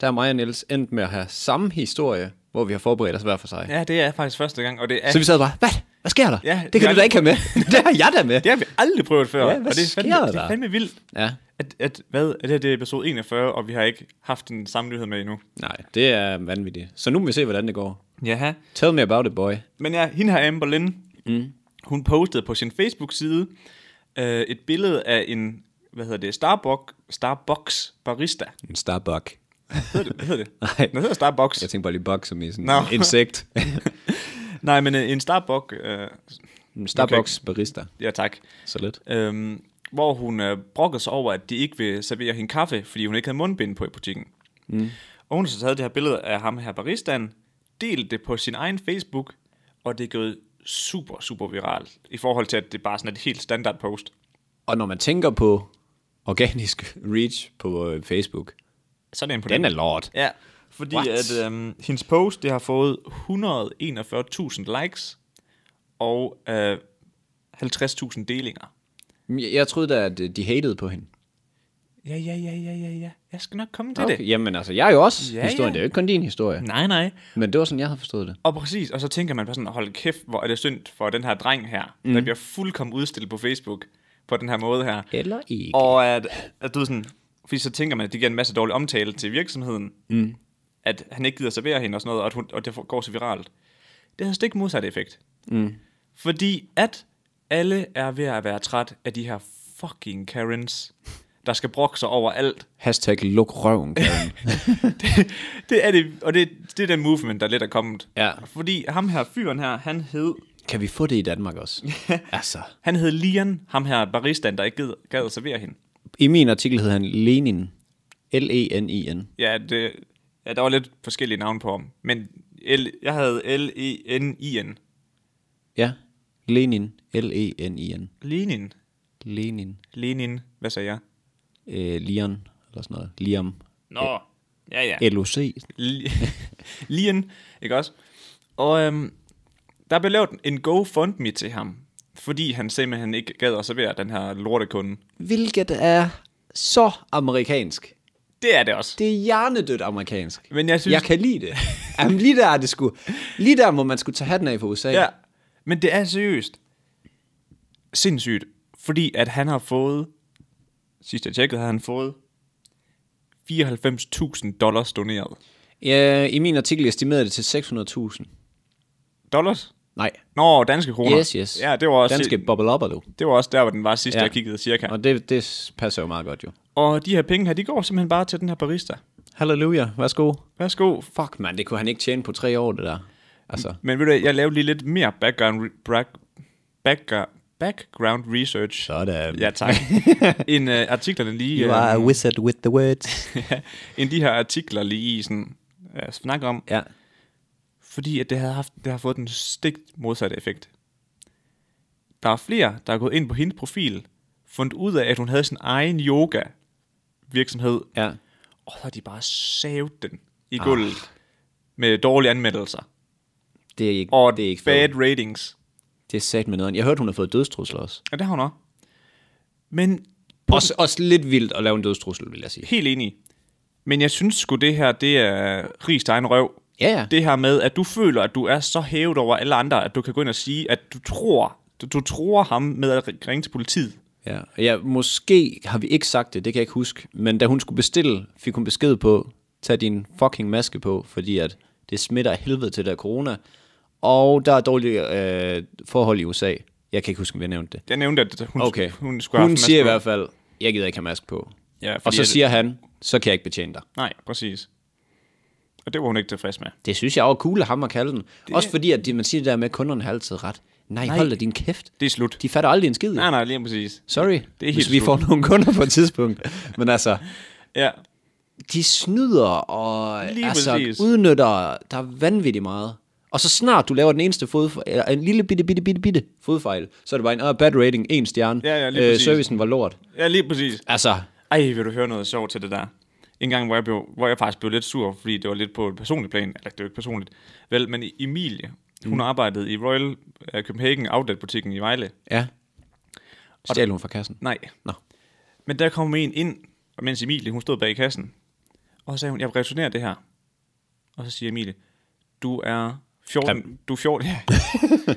Speaker 2: der er mig og Niels endt med at have samme historie, hvor vi har forberedt os hver for sig. Ja.
Speaker 1: Ja, det er faktisk første gang, og det er
Speaker 2: Så vi sad bare, hvad? Hvad sker der?
Speaker 1: Ja,
Speaker 2: Ja, det kan
Speaker 1: jeg-
Speaker 2: du da ikke have med. det har jeg da med.
Speaker 1: Det har vi aldrig prøvet før.
Speaker 2: Ja, hvad
Speaker 1: og det er fandme,
Speaker 2: sker der?
Speaker 1: Det er fandme vildt,
Speaker 2: Ja.
Speaker 1: at, at, hvad, at det her det er episode 41, og vi har ikke haft en samme nyhed med endnu.
Speaker 2: Nej, det er vanvittigt. Så nu må vi se, hvordan det går.
Speaker 1: Jaha.
Speaker 2: Tell me about it, boy.
Speaker 1: Men ja, hende her, Amber Lynn, mm. hun postede på sin Facebook-side øh, et billede af en, hvad hedder det, Starbucks, Starbucks barista.
Speaker 2: En starbuck.
Speaker 1: Hedder det? Hvad hedder det?
Speaker 2: Nej.
Speaker 1: Den hedder Starbucks.
Speaker 2: Jeg tænker bare lige bug som i sådan
Speaker 1: Nå.
Speaker 2: no. insekt.
Speaker 1: Nej, men øh, en Starbucks, øh,
Speaker 2: En Starbucks barista.
Speaker 1: ja tak,
Speaker 2: Så lidt.
Speaker 1: øhm, hvor hun øh, brokkede sig over, at de ikke vil servere hende kaffe, fordi hun ikke havde mundbind på i butikken. Mm. Og hun har så taget det her billede af ham her baristaen, delt det på sin egen Facebook, og det er gået super, super viralt, i forhold til, at det bare sådan er et helt standard post.
Speaker 2: Og når man tænker på organisk reach på øh, Facebook,
Speaker 1: Så er det imponerende.
Speaker 2: den er lort.
Speaker 1: Ja, fordi
Speaker 2: What?
Speaker 1: at øhm, hendes post, det har fået 141.000 likes, og øh, 50.000 delinger.
Speaker 2: Jeg, jeg troede da, at øh, de hatede på hende.
Speaker 1: Ja, ja, ja, ja, ja, ja. Jeg skal nok komme til okay. det.
Speaker 2: Jamen altså, jeg er jo også
Speaker 1: Ja,
Speaker 2: ja,
Speaker 1: ja.
Speaker 2: historien. Ja. Det er jo ikke kun din historie.
Speaker 1: Nej, nej.
Speaker 2: Men det var sådan, jeg havde forstået det.
Speaker 1: Og præcis, og så tænker man bare sådan, hold kæft, hvor er det synd for den her dreng her, mm. der bliver fuldkommen udstillet på Facebook på den her måde her.
Speaker 2: Eller ikke. Og
Speaker 1: Og at, at du ved sådan, fordi så tænker man, at det giver en masse dårlig omtale til virksomheden, mm. at han ikke gider servere hende og sådan noget, og, at hun, og det går så viralt. Det har stik modsat effekt. Mm. Fordi at alle er ved at være træt af de her fucking Karens, der skal brokke sig over alt.
Speaker 2: Hashtag luk røven, Karen.
Speaker 1: det, det er det, og det, det er den movement, der lidt er kommet.
Speaker 2: Ja.
Speaker 1: Fordi ham her, fyren her, han hed,
Speaker 2: kan vi få det i Danmark også? altså.
Speaker 1: han hed Lian, ham her baristaen, der ikke gad, gad at servere hende.
Speaker 2: I min artikel hed han Lenin. E L-E-N-I-N.
Speaker 1: Ja, det, ja, der var lidt forskellige navne på ham. Men L, E jeg havde L-E-N-I-N.
Speaker 2: Ja. Lenin. E L-E-N-I-N.
Speaker 1: Lenin.
Speaker 2: Lenin.
Speaker 1: Lenin. Hvad sagde jeg?
Speaker 2: Øh, Lian. Eller sådan noget. Liam.
Speaker 1: Nå, ja, ja.
Speaker 2: LOC.
Speaker 1: Li- Lien, ikke også? Og øhm, der blev lavet en GoFundMe til ham, fordi han simpelthen ikke gad at servere den her lortekunde.
Speaker 2: Hvilket er så amerikansk.
Speaker 1: Det er det også.
Speaker 2: Det er hjernedødt amerikansk.
Speaker 1: Men jeg synes-
Speaker 2: jeg kan lide det. Jamen, lige der er det sgu... Lige der må man skulle tage hatten af for USA.
Speaker 1: Ja, men det er seriøst sindssygt, fordi at han har fået, sidst jeg tjekkede, har han fået 94.000 dollars doneret.
Speaker 2: Ja, I min artikel estimerede det til 600.000.
Speaker 1: Dollars?
Speaker 2: Nej.
Speaker 1: Nå, danske kroner.
Speaker 2: Yes, yes.
Speaker 1: Ja, det var også,
Speaker 2: Danske bubble up, du.
Speaker 1: det var også der, hvor den var sidst, ja.
Speaker 2: Ja.
Speaker 1: jeg kiggede cirka.
Speaker 2: Og det, det passer jo meget godt, jo.
Speaker 1: Og de her penge her, de går simpelthen bare til den her barista.
Speaker 2: Halleluja. Værsgo.
Speaker 1: Værsgo.
Speaker 2: Fuck, man. Det kunne han ikke tjene på tre år, det der. Altså.
Speaker 1: Men ved du, hvad, jeg lavede lige lidt mere background, re- brak- background, background research.
Speaker 2: Sådan.
Speaker 1: Ja, tak. end øh, artiklerne lige...
Speaker 2: You
Speaker 1: øh,
Speaker 2: are a wizard with the words.
Speaker 1: ja, end de her artikler lige sådan, øh, snakker om,
Speaker 2: ja.
Speaker 1: fordi at det, havde haft, det har fået den stik modsatte effekt. Der er flere, der er gået ind på hendes profil, fundet ud af, at hun havde sin egen yoga virksomhed,
Speaker 2: Ja.
Speaker 1: og så har de bare savet den.
Speaker 2: Ah.
Speaker 1: i gulvet med dårlige anmeldelser
Speaker 2: Det er ikke,
Speaker 1: og
Speaker 2: det er ikke
Speaker 1: bad
Speaker 2: fedt.
Speaker 1: ratings.
Speaker 2: Det er sat med noget. Jeg hørte, hun har fået dødstrusler også.
Speaker 1: Ja, det har hun også. Men
Speaker 2: også. Også lidt vildt at lave en dødstrussel, vil jeg sige.
Speaker 1: helt enig. Men jeg synes sgu, det her, det er rigst egen røv.
Speaker 2: Ja, ja.
Speaker 1: Det her med, at du føler, at du er så hævet over alle andre, at du kan gå ind og sige, at du tror, du, du tror ham med at ringe til politiet.
Speaker 2: Ja, ja, måske har vi ikke sagt det, det kan jeg ikke huske. Men da hun skulle bestille, fik hun besked på, tag din fucking maske på, fordi at det smitter af helvede til der er corona. Og der er dårlige øh, forhold i USA. Jeg kan ikke huske, om vi nævnte det.
Speaker 1: Jeg nævnte, at hun,
Speaker 2: Okay.
Speaker 1: hun skulle have
Speaker 2: Hun
Speaker 1: haft en
Speaker 2: siger i
Speaker 1: maske
Speaker 2: hvert fald, jeg gider ikke have maske på.
Speaker 1: på. ja,
Speaker 2: Og
Speaker 1: fordi
Speaker 2: så
Speaker 1: at-
Speaker 2: siger han, så kan jeg ikke betjene dig.
Speaker 1: Nej, præcis. Og det var hun ikke tilfreds med.
Speaker 2: Det synes jeg var cool af ham at kalde den. Det... Også fordi, at de- man siger det der med, at kunderne har altid ret. Nej, Nej, hold da din kæft.
Speaker 1: Det er slut.
Speaker 2: De fatter aldrig en skid.
Speaker 1: Nej, nej, lige præcis.
Speaker 2: Sorry, det
Speaker 1: helt
Speaker 2: hvis vi
Speaker 1: slut.
Speaker 2: får nogle kunder på et tidspunkt. Men altså,
Speaker 1: Ja,
Speaker 2: de snyder og
Speaker 1: Lige
Speaker 2: altså,
Speaker 1: præcis.
Speaker 2: udnytter der er vanvittigt meget. Og så snart du laver den eneste fodfejl, eller en lille bitte, bitte, bitte, bitte fodfejl, så er det bare en oh, bad rating, en stjerne. Øh,
Speaker 1: Ja, ja, lige præcis.
Speaker 2: servicen var lort.
Speaker 1: ja lige præcis.
Speaker 2: Altså,
Speaker 1: Ej, vil du høre noget sjovt til det der? En gang, hvor jeg, blev, hvor jeg faktisk blev lidt sur, fordi det var lidt på et personligt plan. Eller, det var ikke personligt. Vel, men Emilie, hun arbejdede i Royal øh, Copenhagen Outlet-butikken i Vejle.
Speaker 2: ja. Stjal hun fra kassen?
Speaker 1: Nej.
Speaker 2: Nå.
Speaker 1: Men der kom en ind, og mens Emilie, hun stod bag kassen. Og så sagde hun, jeg vil returnere det her. Og så siger Emilie, du er 14, du er 14, ja,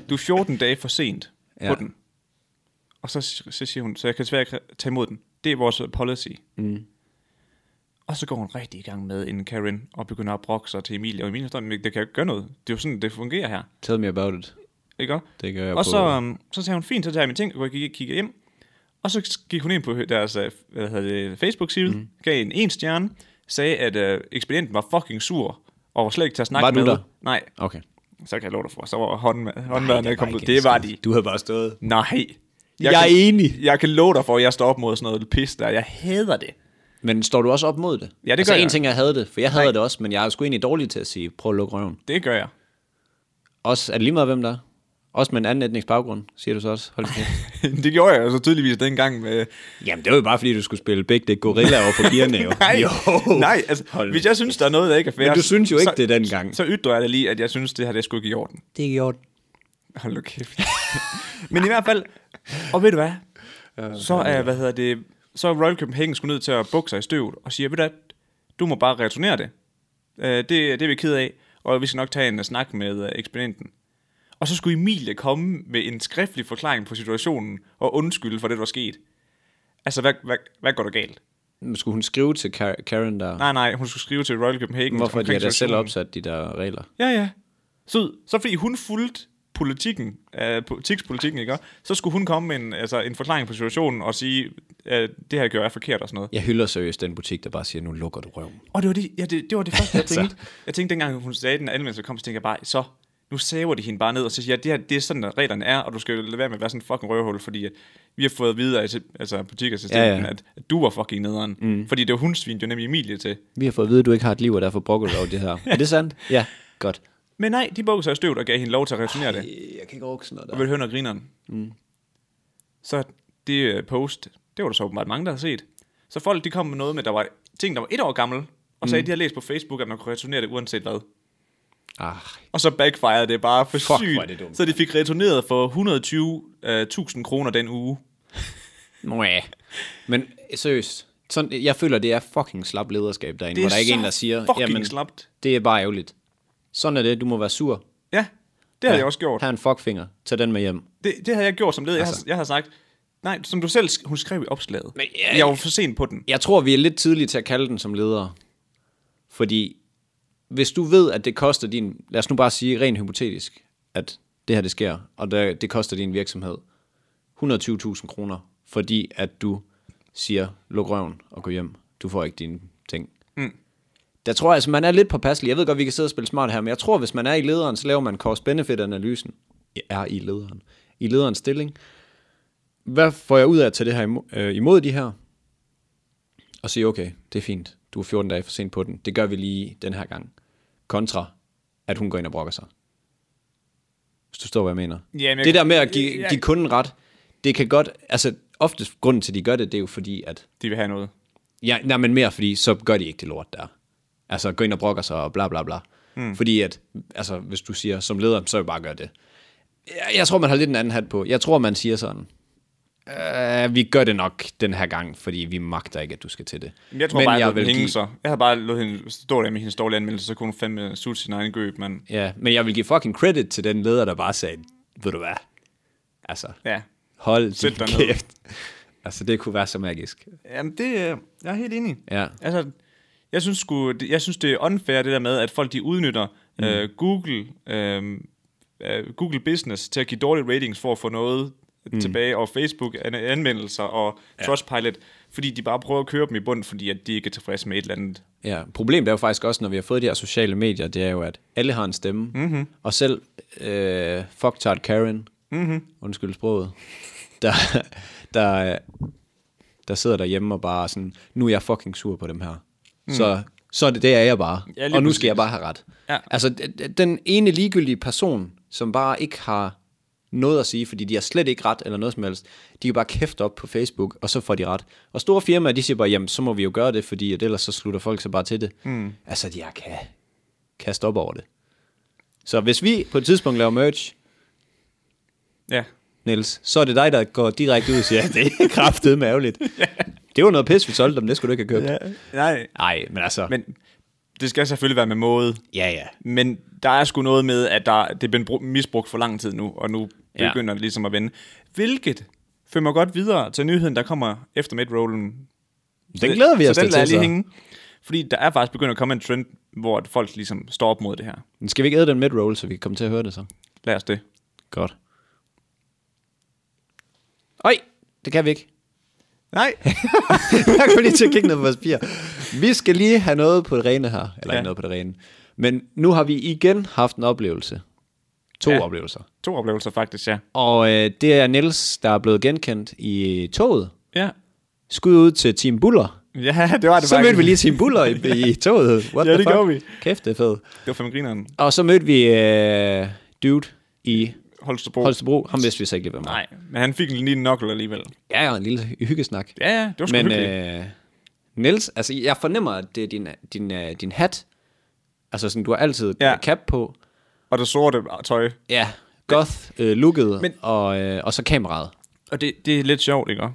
Speaker 1: du er 14 dage for sent på
Speaker 2: Ja.
Speaker 1: den. Og så, så siger hun, så jeg kan desværre ikke tage imod den. Det er vores policy. Mm. Og så går hun rigtig i gang med en Karen, og begynder at brokke sig til Emilie. Og Emilie står, "Men det kan jeg ikke gøre noget. Det er jo sådan, det fungerer her.
Speaker 2: Tell me about it.
Speaker 1: Ikke også?
Speaker 2: Det gør jeg
Speaker 1: og
Speaker 2: på-
Speaker 1: så, um, så sagde hun, fint, så tager jeg mine ting, og jeg gik, kigger hjem. Og så gik hun ind på deres øh, hvad hedder det, Facebook-side,
Speaker 2: Mhm.
Speaker 1: mm. gav en en stjerne, sagde, at øh, ekspedienten var fucking sur, og var slet ikke til at snakke
Speaker 2: Var du
Speaker 1: med.
Speaker 2: der?
Speaker 1: Nej,
Speaker 2: Okay.
Speaker 1: så kan jeg love dig for, så var håndma- håndværende kommet ud.
Speaker 2: ikke en
Speaker 1: Det var
Speaker 2: skid.
Speaker 1: de.
Speaker 2: Du havde bare stået.
Speaker 1: Nej.
Speaker 2: Jeg er enig.
Speaker 1: Jeg kan love dig for, at jeg står op mod sådan noget pis der. Jeg hader det.
Speaker 2: Men står du også op mod det?
Speaker 1: det
Speaker 2: altså,
Speaker 1: gør jeg.
Speaker 2: en ting, jeg havde det, for jeg havde Nej. det også, men jeg er sgu egentlig dårlig til at sige, prøv at lukke røven.
Speaker 1: Det gør jeg.
Speaker 2: Også, er det lige meget, hvem der er? Også med en anden etnisk baggrund, siger du så også. Hold da kæft.
Speaker 1: det gjorde jeg jo så tydeligvis dengang med...
Speaker 2: Jamen, det var jo bare, fordi du skulle spille Big Dick Gorilla over for pigerne, jo.
Speaker 1: Nej,
Speaker 2: jo.
Speaker 1: nej altså,
Speaker 2: Hold
Speaker 1: hvis jeg synes, der er noget, der ikke er fair...
Speaker 2: Men du synes jo ikke
Speaker 1: så,
Speaker 2: det dengang.
Speaker 1: Så ytrer jeg da lige, at jeg synes, det her det skulle ikke i orden.
Speaker 2: Det er gjort.
Speaker 1: Hold nu kæft. Men i hvert fald, og ved du hvad? Så er, hvad hedder det, så er Royal Copenhagen skulle ned til at bukke sig i støvet og siger, ved du hvad, du må bare returnere det. Øh, det. Det er vi ked af, og vi skal nok tage en øh, snak med øh, ekspedienten. Og så skulle Emilie komme med en skriftlig forklaring på situationen og undskylde for det, der var sket. Altså, hvad, hvad, hvad går der galt?
Speaker 2: Skulle hun skrive til Kar- Karen der,
Speaker 1: Nej, nej, hun skulle skrive til Royal Copenhagen.
Speaker 2: hvorfor de
Speaker 1: omkring
Speaker 2: har da selv
Speaker 1: situationen.
Speaker 2: opsat de der regler?
Speaker 1: Ja, ja. Så, så fordi hun fulgte politikken, øh, politikspolitikken, ikke? også? Så skulle hun komme med en, altså, en forklaring på situationen og sige, at det her gør jeg forkert og sådan noget.
Speaker 2: Jeg hylder seriøst den butik, der bare siger, nu lukker du røven.
Speaker 1: Og det var det, ja, det, det, var det første, jeg
Speaker 2: Altså.
Speaker 1: tænkte. Jeg tænkte, dengang hun sagde, den her anmeldelse kom, så tænkte jeg bare, så nu saver de hende bare ned og så siger, jeg, det her det er sådan, at reglerne er, og du skal jo lade være med at være sådan en fucking røvhul, fordi at vi har fået videre, altså butiksassistenten,
Speaker 2: Ja, ja.
Speaker 1: At, at, du var fucking nederen. Mm. Fordi det var hun svinede jo nemlig Emilie til.
Speaker 2: Vi har fået at vide, at du ikke har et liv, og derfor brokker du dig over det her. Er det sandt? Ja, godt.
Speaker 1: Men nej, de bukkede sig i støvet og gav hende lov til at returnere det.
Speaker 2: Jeg kan ikke orke sådan noget
Speaker 1: Og vil høre noget grineren. Mm. Så det øh, post, det var der så åbenbart mange, der har set. Så folk, de kom med noget med, der var ting, der var et år gammel, og sagde, mm. de havde læst på Facebook, at man kunne returnere det uanset hvad.
Speaker 2: Ah,
Speaker 1: Og så backfirede det bare for
Speaker 2: Fuck, hvor er det
Speaker 1: sygt.
Speaker 2: dumt.
Speaker 1: Så de fik returneret for 120.000 øh, kroner den uge.
Speaker 2: Mwah. Men seriøst, sådan, jeg føler, det er fucking slap lederskab derinde,
Speaker 1: Det er
Speaker 2: hvor der ikke er
Speaker 1: så
Speaker 2: en, der siger,
Speaker 1: fucking slapt.
Speaker 2: det er bare ærgerligt. Sådan er det, du må være sur.
Speaker 1: Ja, det havde ja. jeg også gjort.
Speaker 2: Her er en fuckfinger, tag den med hjem.
Speaker 1: Det, det havde jeg gjort som led. Altså. Jeg, har, jeg har sagt, nej, som du selv, sk- hun skrev i opslaget.
Speaker 2: Men
Speaker 1: Men
Speaker 2: jeg-
Speaker 1: jeg, jeg var for sent på den.
Speaker 2: Jeg tror, vi er lidt tidlige til at kalde den som leder. Fordi hvis du ved, at det koster din... Lad os nu bare sige rent hypotetisk, at det her det sker, og det, det koster din virksomhed 120.000 kroner, fordi at du siger, luk røven og gå hjem. Du får ikke dine ting. Mm. Der tror jeg, altså, man er lidt påpasselig. Jeg ved godt, vi kan sidde og spille smart her, men jeg tror, hvis man er i lederen, så laver man cost-benefit-analysen. Jeg er i lederen. I lederens stilling. Hvad får jeg ud af at tage det her imod, øh, imod de her? og sige, okay, det er fint, du er 14 dage for sent på den, det gør vi lige den her gang, kontra at hun går ind og brokker sig. Hvis du forstår, hvad jeg mener.
Speaker 1: Jamen, jeg-
Speaker 2: det der med at give,
Speaker 1: jeg-
Speaker 2: give kunden ret, det kan godt, altså oftest grunden til, at de gør det, det er jo fordi, at,
Speaker 1: De vil have noget.
Speaker 2: ja, nej, men mere fordi, så gør de ikke det lort der. Altså gå ind og brokker sig og bla bla bla. Mm. Fordi at, altså hvis du siger, som leder, så vil jeg bare gøre det. Jeg, jeg tror, man har lidt en anden hat på. Jeg tror, man siger sådan, øh, vi gør det nok den her gang, fordi vi magter ikke, at du skal til det.
Speaker 1: Men Jeg tror men bare, jeg, jeg
Speaker 2: vil
Speaker 1: vil hænge
Speaker 2: give-
Speaker 1: give... så. Jeg havde bare lået hende stå der med hendes dårlige anmeldelse, så kunne hun fandme sulte sin egen gøb, men
Speaker 2: Ja, men jeg vil give fucking credit til den leder, der bare sagde, ved du hvad, altså,
Speaker 1: ja.
Speaker 2: hold
Speaker 1: Sæt
Speaker 2: din
Speaker 1: dig ned.
Speaker 2: kæft. Altså, det kunne være så magisk.
Speaker 1: Jamen, det, øh, jeg er helt enig.
Speaker 2: Ja.
Speaker 1: Altså, jeg synes, sgu, det- jeg synes, det er unfair, det der med, at folk de udnytter mm. øh, Google, øh, øh, Google Business til at give dårlige ratings for at få noget mm. tilbage, og Facebook an- anmeldelser og ja. Trustpilot, fordi de bare prøver at køre dem i bund, fordi at de ikke er tilfredse med et eller andet.
Speaker 2: Ja, problemet er jo faktisk også, når vi har fået de her sociale medier, det er jo, at alle har en stemme.
Speaker 1: Mhm.
Speaker 2: Mm-hmm. Og selv øh, fucktard Karen,
Speaker 1: Mhm.
Speaker 2: mm-hmm. undskyld sproget, der, der, der sidder derhjemme og bare sådan, nu er jeg fucking sur på dem her. Mm. Så, så er det, det er jeg bare.
Speaker 1: Ja, lige
Speaker 2: og nu
Speaker 1: præcis.
Speaker 2: skal jeg bare have ret.
Speaker 1: Ja.
Speaker 2: Altså, d- d- den ene ligegyldige person, som bare ikke har noget at sige, fordi de har slet ikke ret eller noget som helst, de kan bare kæfte op på Facebook, og så får de ret. Og store firmaer, de siger bare, jamen, så må vi jo gøre det, fordi at ellers så slutter folk sig bare til det. Mm. Altså, jeg kan kaste op over det. Så hvis vi på et tidspunkt laver merch,
Speaker 1: Ja.
Speaker 2: Niels, så er det dig, der går direkte ud og siger, det er kraftedeme ærgerligt. Det var noget pis, vi solgte dem, det skulle du ikke have købt.
Speaker 1: Nej.
Speaker 2: Nej, men altså, men,
Speaker 1: Men det skal selvfølgelig være med måde,
Speaker 2: ja ja.
Speaker 1: Men der er sgu noget med, at der, det er blevet bru- misbrugt for lang tid nu, og nu
Speaker 2: Ja.
Speaker 1: begynder det ligesom at vende. Hvilket fører mig godt videre til nyheden, der kommer efter midrollen.
Speaker 2: Den glæder vi os
Speaker 1: så
Speaker 2: da
Speaker 1: den lader
Speaker 2: til,
Speaker 1: jeg lige
Speaker 2: så.
Speaker 1: hænge. Fordi der er faktisk begyndt at komme en trend, hvor at folk ligesom står op mod det her.
Speaker 2: Men Skal vi ikke æde den mid-roll, så vi kan komme til at høre det så?
Speaker 1: Lad os det.
Speaker 2: Godt. Øj, det kan vi ikke.
Speaker 1: Nej.
Speaker 2: Jeg kunne lige til at kigge ned på vores papir. Vi skal lige have noget på det rene her. Eller ja.
Speaker 1: Ja.
Speaker 2: noget på det rene. Men nu har vi igen haft en oplevelse. To ja.
Speaker 1: Ja.
Speaker 2: oplevelser.
Speaker 1: to oplevelser faktisk, ja.
Speaker 2: Og øh, det er Niels, der er blevet genkendt i toget.
Speaker 1: Ja,
Speaker 2: Skud ud til Team Buller.
Speaker 1: ja det var det
Speaker 2: Så
Speaker 1: faktisk.
Speaker 2: mødte vi lige Team Buller i, i toget. What
Speaker 1: Ja,
Speaker 2: the
Speaker 1: det
Speaker 2: fuck?
Speaker 1: gjorde vi.
Speaker 2: Kæft, det er fedt.
Speaker 1: Det var fem grineren.
Speaker 2: Og så mødte vi øh, Dude i
Speaker 1: Holstebro.
Speaker 2: Holstebro. Ham vidste vi så ikke lige, hvem var.
Speaker 1: Nej, men han fik lige en nokkel alligevel.
Speaker 2: Ja, ja, en lille hyggesnak.
Speaker 1: Ja, ja, det var sgu
Speaker 2: Men
Speaker 1: hyggeligt.
Speaker 2: øh, Niels, altså jeg fornemmer, at det er din, din, øh, din hat. Altså sådan, du har altid ja.
Speaker 1: Ja.
Speaker 2: cap på.
Speaker 1: Og det sorte tøj.
Speaker 2: Ja, goth, øh, looket
Speaker 1: Men-
Speaker 2: og, øh, og så kameraet.
Speaker 1: Og det, det er lidt sjovt, ikke?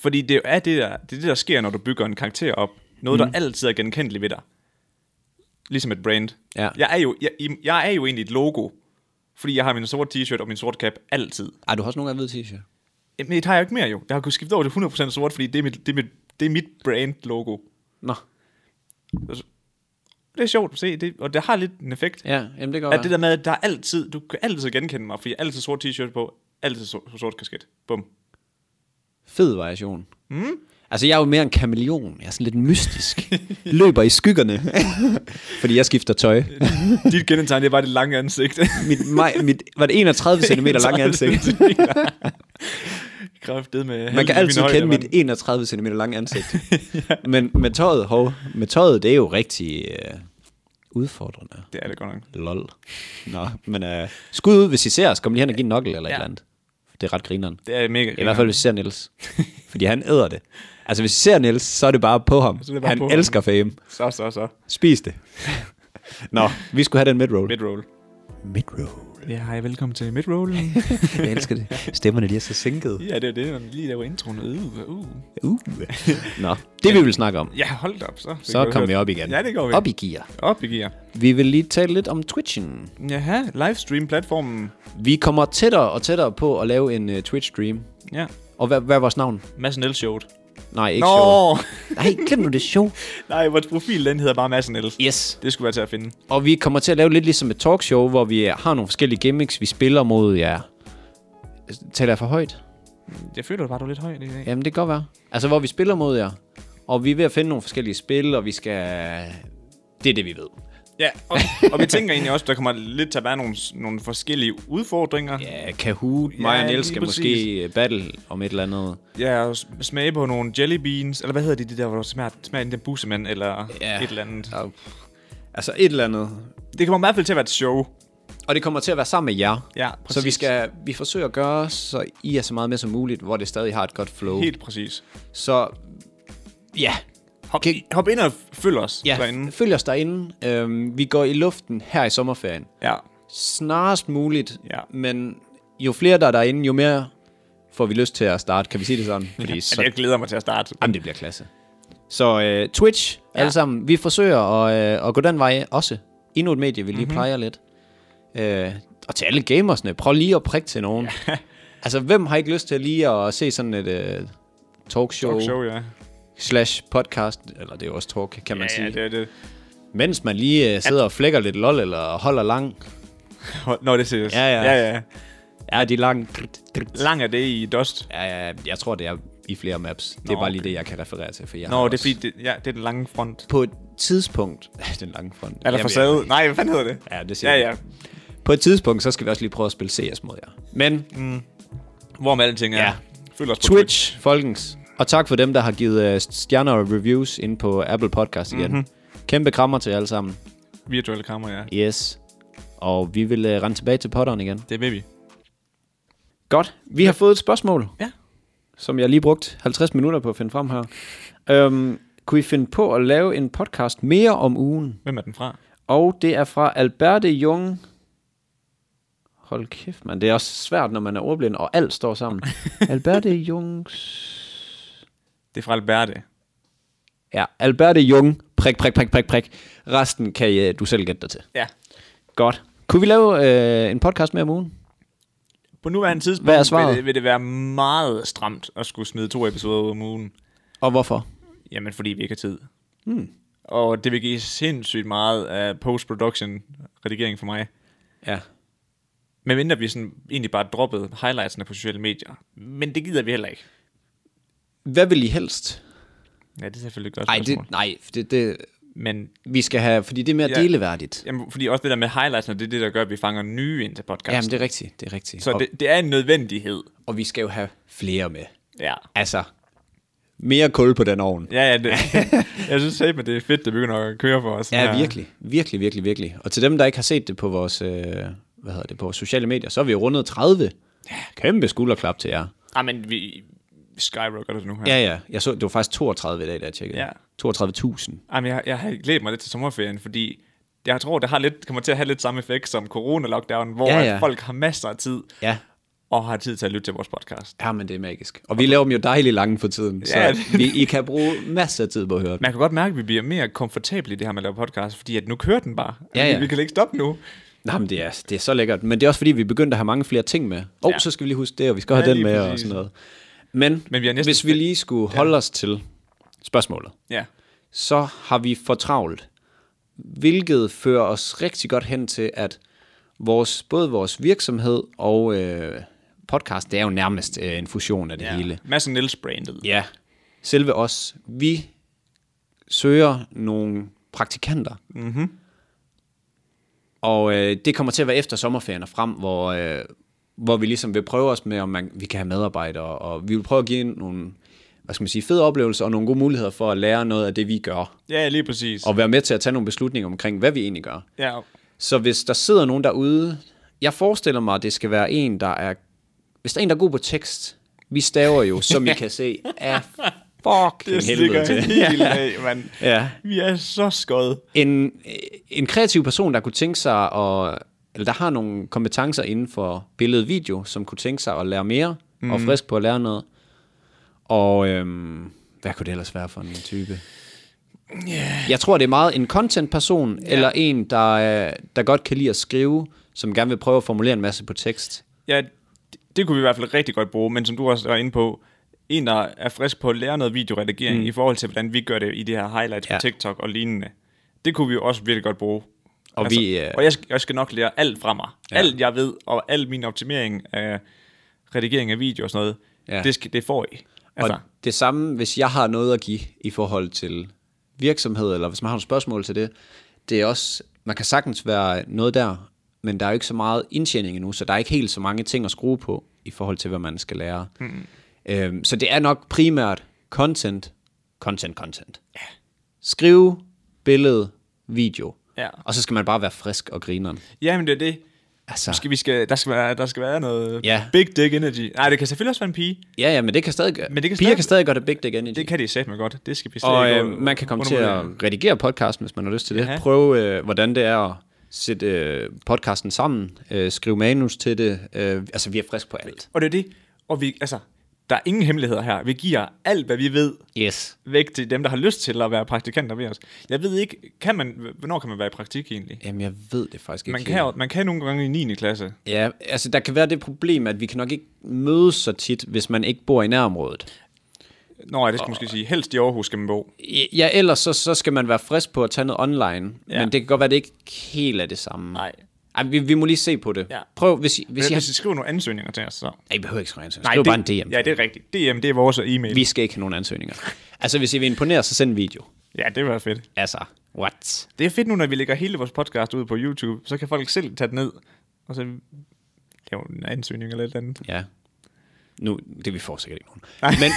Speaker 1: Fordi det er det, der, det er det, der sker, når du bygger en karakter op. Noget, mm. der altid er genkendeligt ved dig. Ligesom et brand.
Speaker 2: Ja.
Speaker 1: Jeg, er jo, jeg, jeg er jo egentlig et logo. Fordi jeg har min sorte t-shirt og min sorte cap altid.
Speaker 2: Ej, du har også nogle gange hvid t-shirt.
Speaker 1: Men det har jeg jo ikke mere jo. Jeg har kunnet skifte over til 100% sort, fordi det er mit, det er mit, det er mit brand logo. Altså,
Speaker 2: Nå,
Speaker 1: Det er sjovt at se, det, og det har lidt en effekt.
Speaker 2: ja, jamen det går.
Speaker 1: At det der med, at der er altid, du kan altid genkende mig, fordi jeg har altid sort t-shirt på, altid sort, sort kasket. Bum.
Speaker 2: Fed variation. Mm. Altså jeg er jo mere en kameleon. Jeg er sådan lidt mystisk. Løber i skyggerne. Fordi jeg skifter tøj.
Speaker 1: Dit kendetegn, det er bare det lange ansigt.
Speaker 2: Mit, mig, mit, var det 31 cm lange ansigt?
Speaker 1: Kræftet med
Speaker 2: Man kan altid kende mit 31 cm lange ansigt. Men med tøjet, hov, med tøjet, det er jo rigtig øh, udfordrende.
Speaker 1: Det er det godt nok.
Speaker 2: Lol. Nå, men øh, skud ud, hvis I ser os. Kom lige hen og giv en nokkel eller ja. et
Speaker 1: Ja.
Speaker 2: eller andet. Det er ret grineren.
Speaker 1: Det er mega
Speaker 2: I hvert fald, hvis I ser Niels. Fordi han æder det. Altså, hvis I ser Niels, så er det bare på ham.
Speaker 1: Så er det bare
Speaker 2: han
Speaker 1: på ham.
Speaker 2: elsker fame.
Speaker 1: Så, så, så.
Speaker 2: Spis det. Nå, vi skulle have den midroll.
Speaker 1: Midroll.
Speaker 2: Midroll.
Speaker 1: Ja, hej, velkommen til midroll.
Speaker 2: Jeg elsker det. Stemmerne lige er så sænket.
Speaker 1: ja, det er det, når man lige laver introen. Uh, uh.
Speaker 2: Uh. Nå, det vi vil snakke om.
Speaker 1: Ja, hold da op, så. Det
Speaker 2: Så
Speaker 1: går
Speaker 2: kom vi
Speaker 1: hørt.
Speaker 2: op igen.
Speaker 1: Ja, det går vi.
Speaker 2: Op i gear.
Speaker 1: Op i gear.
Speaker 2: Vi vil lige tale lidt om Twitchen.
Speaker 1: Jaha, livestream-platformen.
Speaker 2: Vi kommer tættere og tættere på at lave en uh, Twitch-stream.
Speaker 1: Ja,
Speaker 2: Og hvad, hvad er vores navn?
Speaker 1: Mads Niels showet.
Speaker 2: Nej, ikke
Speaker 1: Nå!
Speaker 2: show. Nej, glem nu det show.
Speaker 1: Nej, vores profil, den hedder bare Mads Niels.
Speaker 2: Yes.
Speaker 1: Det skulle være til at finde.
Speaker 2: Og vi kommer til at lave lidt ligesom et talkshow, hvor vi har nogle forskellige gimmicks, vi spiller mod jer. Taler jeg for højt?
Speaker 1: Jeg føler bare, du er lidt høj i dag.
Speaker 2: Jamen, det kan godt være. Altså, hvor vi spiller mod jer. Og vi er ved at finde nogle forskellige spil, og vi skal... Det er det, vi ved.
Speaker 1: Ja, og, og vi tænker egentlig også, der kommer lidt til at være nogle, nogle forskellige udfordringer.
Speaker 2: Ja, Kahoot, mig
Speaker 1: Ja,
Speaker 2: og Niels
Speaker 1: lige
Speaker 2: skal
Speaker 1: præcis.
Speaker 2: måske øh, battle om et eller andet.
Speaker 1: Ja, og s- smage på nogle jelly beans, eller hvad hedder de, de der, hvor du smager, smager en den busemand, eller
Speaker 2: Ja.
Speaker 1: ja. et eller andet.
Speaker 2: Og- Altså, et eller andet.
Speaker 1: Det kommer i hvert fald til at være et show.
Speaker 2: Og det kommer til at være sammen med jer.
Speaker 1: Ja,
Speaker 2: Så vi,
Speaker 1: præcis.
Speaker 2: skal, vi forsøger at gøre, så I er så meget med som muligt, hvor det stadig har et godt flow. Helt.
Speaker 1: Helt præcis.
Speaker 2: Så ja,
Speaker 1: Hop,
Speaker 2: Kan-
Speaker 1: i- hop ind og følg os
Speaker 2: Ja,
Speaker 1: derinde.
Speaker 2: følg os derinde. Øhm, vi går i luften her i sommerferien.
Speaker 1: Ja.
Speaker 2: Snarest muligt,
Speaker 1: Ja.
Speaker 2: men jo flere der er derinde, jo mere får vi lyst til at starte. Kan vi sige det sådan? Fordi ja,
Speaker 1: Så... Jeg glæder mig til at starte.
Speaker 2: Jamen, det bliver klasse. Så øh, Twitch, ja. alle sammen. Vi forsøger at, øh, at gå den vej også. Endnu et medie, vi lige
Speaker 1: Mhm.
Speaker 2: mm-hmm. plejer lidt. Øh, og til alle gamersne, prøv lige at prikke til nogen. Ja. Altså, hvem har ikke lyst til lige at se sådan et øh, talkshow,
Speaker 1: Talk
Speaker 2: talkshow
Speaker 1: show, ja.
Speaker 2: slash podcast? Eller det er jo også talk, kan man
Speaker 1: Ja,
Speaker 2: sige.
Speaker 1: ja, det er det.
Speaker 2: Mens man lige øh, sidder og flækker lidt lol, eller holder lang.
Speaker 1: Nå, det ses.
Speaker 2: Ja, ja.
Speaker 1: ja, ja.
Speaker 2: Ja, de er lang.
Speaker 1: Lang er det i Dust.
Speaker 2: Ja, ja, jeg tror, det er i flere maps. Det er
Speaker 1: Nå,
Speaker 2: bare lige
Speaker 1: okay.
Speaker 2: det, jeg kan referere til. For jeg har
Speaker 1: Nå, det er
Speaker 2: også-
Speaker 1: fordi, det, ja, det er den lange front.
Speaker 2: På et tidspunkt... den lange front.
Speaker 1: Eller
Speaker 2: Jamen,
Speaker 1: facade. Nej, hvad fanden hedder det?
Speaker 2: Ja, det siger
Speaker 1: Ja,
Speaker 2: jeg.
Speaker 1: ja.
Speaker 2: På et tidspunkt, så skal vi også lige prøve at spille CS mod jer. Men
Speaker 1: Hvor med alting er.
Speaker 2: Ja.
Speaker 1: Følg os på Twitch.
Speaker 2: Twitch, folkens. Og tak for dem, der har givet øh, stjerner og reviews ind på Apple Podcast igen. Mm-hmm. Kæmpe krammer til jer alle sammen.
Speaker 1: Virtuelle kamera, ja.
Speaker 2: Yes. Og vi vil øh, rende tilbage til potteren igen.
Speaker 1: Det vil vi.
Speaker 2: Godt. Vi har fået et spørgsmål.
Speaker 1: Ja.
Speaker 2: Som jeg lige brugte 50 minutter på at finde frem her. Øhm, kunne I finde på at lave en podcast mere om ugen?
Speaker 1: Hvem er den fra?
Speaker 2: Og det er fra Alberte Jung. Hold kæft, mand. Det er også svært, når man er ordblind, og alt står sammen. Alberte Jungs...
Speaker 1: Det er fra Alberte.
Speaker 2: Ja, Alberte Jung. Prik, prik, prik, prik, prik. Resten kan øh, du selv gætte dig til.
Speaker 1: Ja.
Speaker 2: Godt. Kunne vi lave øh, en podcast mere om ugen?
Speaker 1: På nuværende tidspunkt
Speaker 2: Hvad er svaret?
Speaker 1: Vil, det, vil det være meget stramt at skulle smide to episoder ud om ugen.
Speaker 2: Og hvorfor?
Speaker 1: Jamen, fordi vi ikke har tid. Hmm. Og det vil give sindssygt meget af post-production-redigering for mig.
Speaker 2: Ja.
Speaker 1: Men mindre vi sådan egentlig bare droppede highlightsene på sociale medier. Men det gider vi heller ikke.
Speaker 2: Hvad vil I helst?
Speaker 1: Ja, det er selvfølgelig et godt
Speaker 2: Ej,
Speaker 1: spørgsmål.
Speaker 2: det, nej, det, det,
Speaker 1: Men
Speaker 2: vi skal have, fordi det er mere ja.
Speaker 1: Ja.
Speaker 2: deleværdigt.
Speaker 1: jamen, fordi også det der med highlightsene, det er det, der gør, at vi fanger nye ind til podcasten.
Speaker 2: Jamen, det er rigtigt, det er rigtigt.
Speaker 1: Så
Speaker 2: og,
Speaker 1: det, det er en nødvendighed.
Speaker 2: og vi skal jo have flere med.
Speaker 1: Ja.
Speaker 2: Altså, mere kul på den ovn.
Speaker 1: Ja, ja, det, jeg synes at det er fedt, det begynder at køre for os.
Speaker 2: Ja, ja, virkelig, virkelig, virkelig, virkelig. Og til dem, der ikke har set det på vores, øh, hvad hedder det, på vores sociale medier, så er vi jo rundet 30. Ja. Kæmpe skulderklap til jer.
Speaker 1: Ej, men vi skyrocker det nu her.
Speaker 2: Ja, ja. Jeg så, det var faktisk 32 i dag, da jeg tjekkede.
Speaker 1: Ja.
Speaker 2: 32.000.
Speaker 1: Ej, men jeg, jeg har glædet mig lidt til sommerferien, fordi jeg tror, det har lidt, kommer til at have lidt samme effekt som corona-lockdown, hvor
Speaker 2: Ja,
Speaker 1: ja,
Speaker 2: ja.
Speaker 1: ja. At folk har masser af tid
Speaker 2: Ja.
Speaker 1: og har tid til at lytte til vores podcast.
Speaker 2: Ja, men det er magisk. Og vi laver dem jo dejligt lange for tiden, så
Speaker 1: Ja, det-
Speaker 2: vi, I kan bruge masser af tid på at høre dem.
Speaker 1: Man kan godt mærke, at vi bliver mere komfortable i det her med at lave podcast, fordi at nu kører den bare.
Speaker 2: Ja,
Speaker 1: Altså,
Speaker 2: ja.
Speaker 1: Vi kan ikke stoppe nu.
Speaker 2: Nej, men det er, det er så lækkert. Men det er også fordi, vi begyndte at have mange flere ting med. Åh, oh, ja.
Speaker 1: Ja.
Speaker 2: så skal vi lige huske det, og vi skal have
Speaker 1: Ja,
Speaker 2: den
Speaker 1: lige
Speaker 2: med og
Speaker 1: præcis.
Speaker 2: sådan noget. Men, men
Speaker 1: Men
Speaker 2: vi
Speaker 1: vi har næsten
Speaker 2: hvis vi lige skulle holde os til spørgsmålet,
Speaker 1: Ja.
Speaker 2: så har vi for travlt. Hvilket fører os rigtig godt hen til, at vores, både vores virksomhed og øh, podcast, det er jo nærmest øh, en fusion af det ja. hele.
Speaker 1: Mads Niels-brandet.
Speaker 2: Ja. Selve os, vi søger nogle praktikanter. Mm-hmm. Og øh, det kommer til at være efter sommerferien og frem, hvor, øh, hvor vi ligesom vil prøve os med, om man, vi kan have medarbejdere, og vi vil prøve at give nogle hvad skal man sige, fede oplevelser og nogle gode muligheder for at lære noget af det, vi gør,
Speaker 1: Ja, lige præcis.
Speaker 2: og være med til at tage nogle beslutninger omkring, hvad vi egentlig gør.
Speaker 1: Ja,
Speaker 2: Så hvis der sidder nogen derude, jeg forestiller mig, at det skal være en, der er... Hvis der er en, der er god på tekst, vi staver jo, som I kan se, af fucking
Speaker 1: det stikker
Speaker 2: helvede til.
Speaker 1: helt af, mand.
Speaker 2: Ja.
Speaker 1: Vi er så skøde.
Speaker 2: En, en kreativ person, der kunne tænke sig at... Eller der har nogle kompetencer inden for billede og video, som kunne tænke sig at lære mere, mm. og er frisk på at lære noget. Og øhm, hvad kunne det ellers være for en type? Yeah. Jeg tror, det er meget en content-person, yeah. eller en, der, øh, der godt kan lide at skrive, som gerne vil prøve at formulere en masse på tekst.
Speaker 1: Ja, det, det kunne vi i hvert fald rigtig godt bruge, men som du også var inde på, en, der er frisk på at lære noget videoredigering mm. i forhold til, hvordan vi gør det i det her highlights ja.
Speaker 2: Ja.
Speaker 1: på TikTok og lignende. Det kunne vi jo også virkelig godt bruge. Altså,
Speaker 2: Og vi, øh,
Speaker 1: og jeg, skal, jeg skal nok lære alt fra mig. Ja. Alt jeg ved, og al min optimering af redigering af video og sådan noget,
Speaker 2: Ja.
Speaker 1: ja. det, skal, det får I.
Speaker 2: Og
Speaker 1: Altså,
Speaker 2: det samme, hvis jeg har noget at give i forhold til virksomhed, eller hvis man har nogle spørgsmål til det, det er også, man kan sagtens være noget der, men der er jo ikke så meget indtjening endnu, så der er ikke helt så mange ting at skrue på i forhold til, hvad man skal lære. Mm. Øhm, så det er nok primært content, content, content. Ja. Skrive, billede, video.
Speaker 1: Ja.
Speaker 2: Og så skal man bare være frisk og grineren.
Speaker 1: jamen det er det.
Speaker 2: Altså,
Speaker 1: Skal, vi skal, der, skal være, der skal være noget
Speaker 2: Ja.
Speaker 1: big dick energy. Nej, det kan selvfølgelig også være en pige.
Speaker 2: ja, ja, men det kan stadig gøre.
Speaker 1: Men det kan
Speaker 2: Piger
Speaker 1: stadig-
Speaker 2: kan stadig godt have big dick energy.
Speaker 1: Det kan de sætte mig godt. Det skal vi slet
Speaker 2: Og
Speaker 1: ikke
Speaker 2: øh,
Speaker 1: under-
Speaker 2: man kan komme til at
Speaker 1: undervurdere.
Speaker 2: redigere podcasten, hvis man har lyst til det.
Speaker 1: Ja.
Speaker 2: Prøve, øh, hvordan det er at sætte øh, podcasten sammen. Øh, skrive manus til det. Øh, altså, vi er frisk på alt.
Speaker 1: Og det er det. Og vi, altså, der er ingen hemmeligheder her. Vi giver alt, hvad vi ved,
Speaker 2: Yes.
Speaker 1: væk til dem, der har lyst til at være praktikanter ved os. Jeg ved ikke, kan man, hvornår kan man være i praktik egentlig?
Speaker 2: Jamen, jeg ved det faktisk ikke.
Speaker 1: Man
Speaker 2: helt.
Speaker 1: kan, jo- man kan nogle gange i 9. klasse.
Speaker 2: Ja, altså der kan være det problem, at vi kan nok ikke mødes så tit, hvis man ikke bor i nærområdet.
Speaker 1: Nå, ja, det skal måske sige, helst i Aarhus skal man bo.
Speaker 2: Ja, ellers så, så skal man være frisk på at tage noget online, ja.
Speaker 1: Ja.
Speaker 2: men det kan godt være, at det ikke helt er det samme.
Speaker 1: Nej.
Speaker 2: Ej, vi, vi må lige se på det.
Speaker 1: Ja.
Speaker 2: Prøv, hvis I, hvis I, har...
Speaker 1: Hvis I skriver nogle ansøgninger til os, så...
Speaker 2: Ej, I behøver ikke skrive ansøgninger. Skriv bare en DM.
Speaker 1: Ja, det er rigtigt. DM, det er vores e-mail.
Speaker 2: Vi skal ikke have nogen ansøgninger. Altså, hvis I vil imponere, så send en video.
Speaker 1: Ja, det var fedt.
Speaker 2: Altså, what?
Speaker 1: Det er fedt nu, når vi lægger hele vores podcast ud på YouTube, så kan folk selv tage den ned, og så lave en ansøgning eller et eller andet.
Speaker 2: Ja. Nu, det vi får sikkert ikke nogen. Men,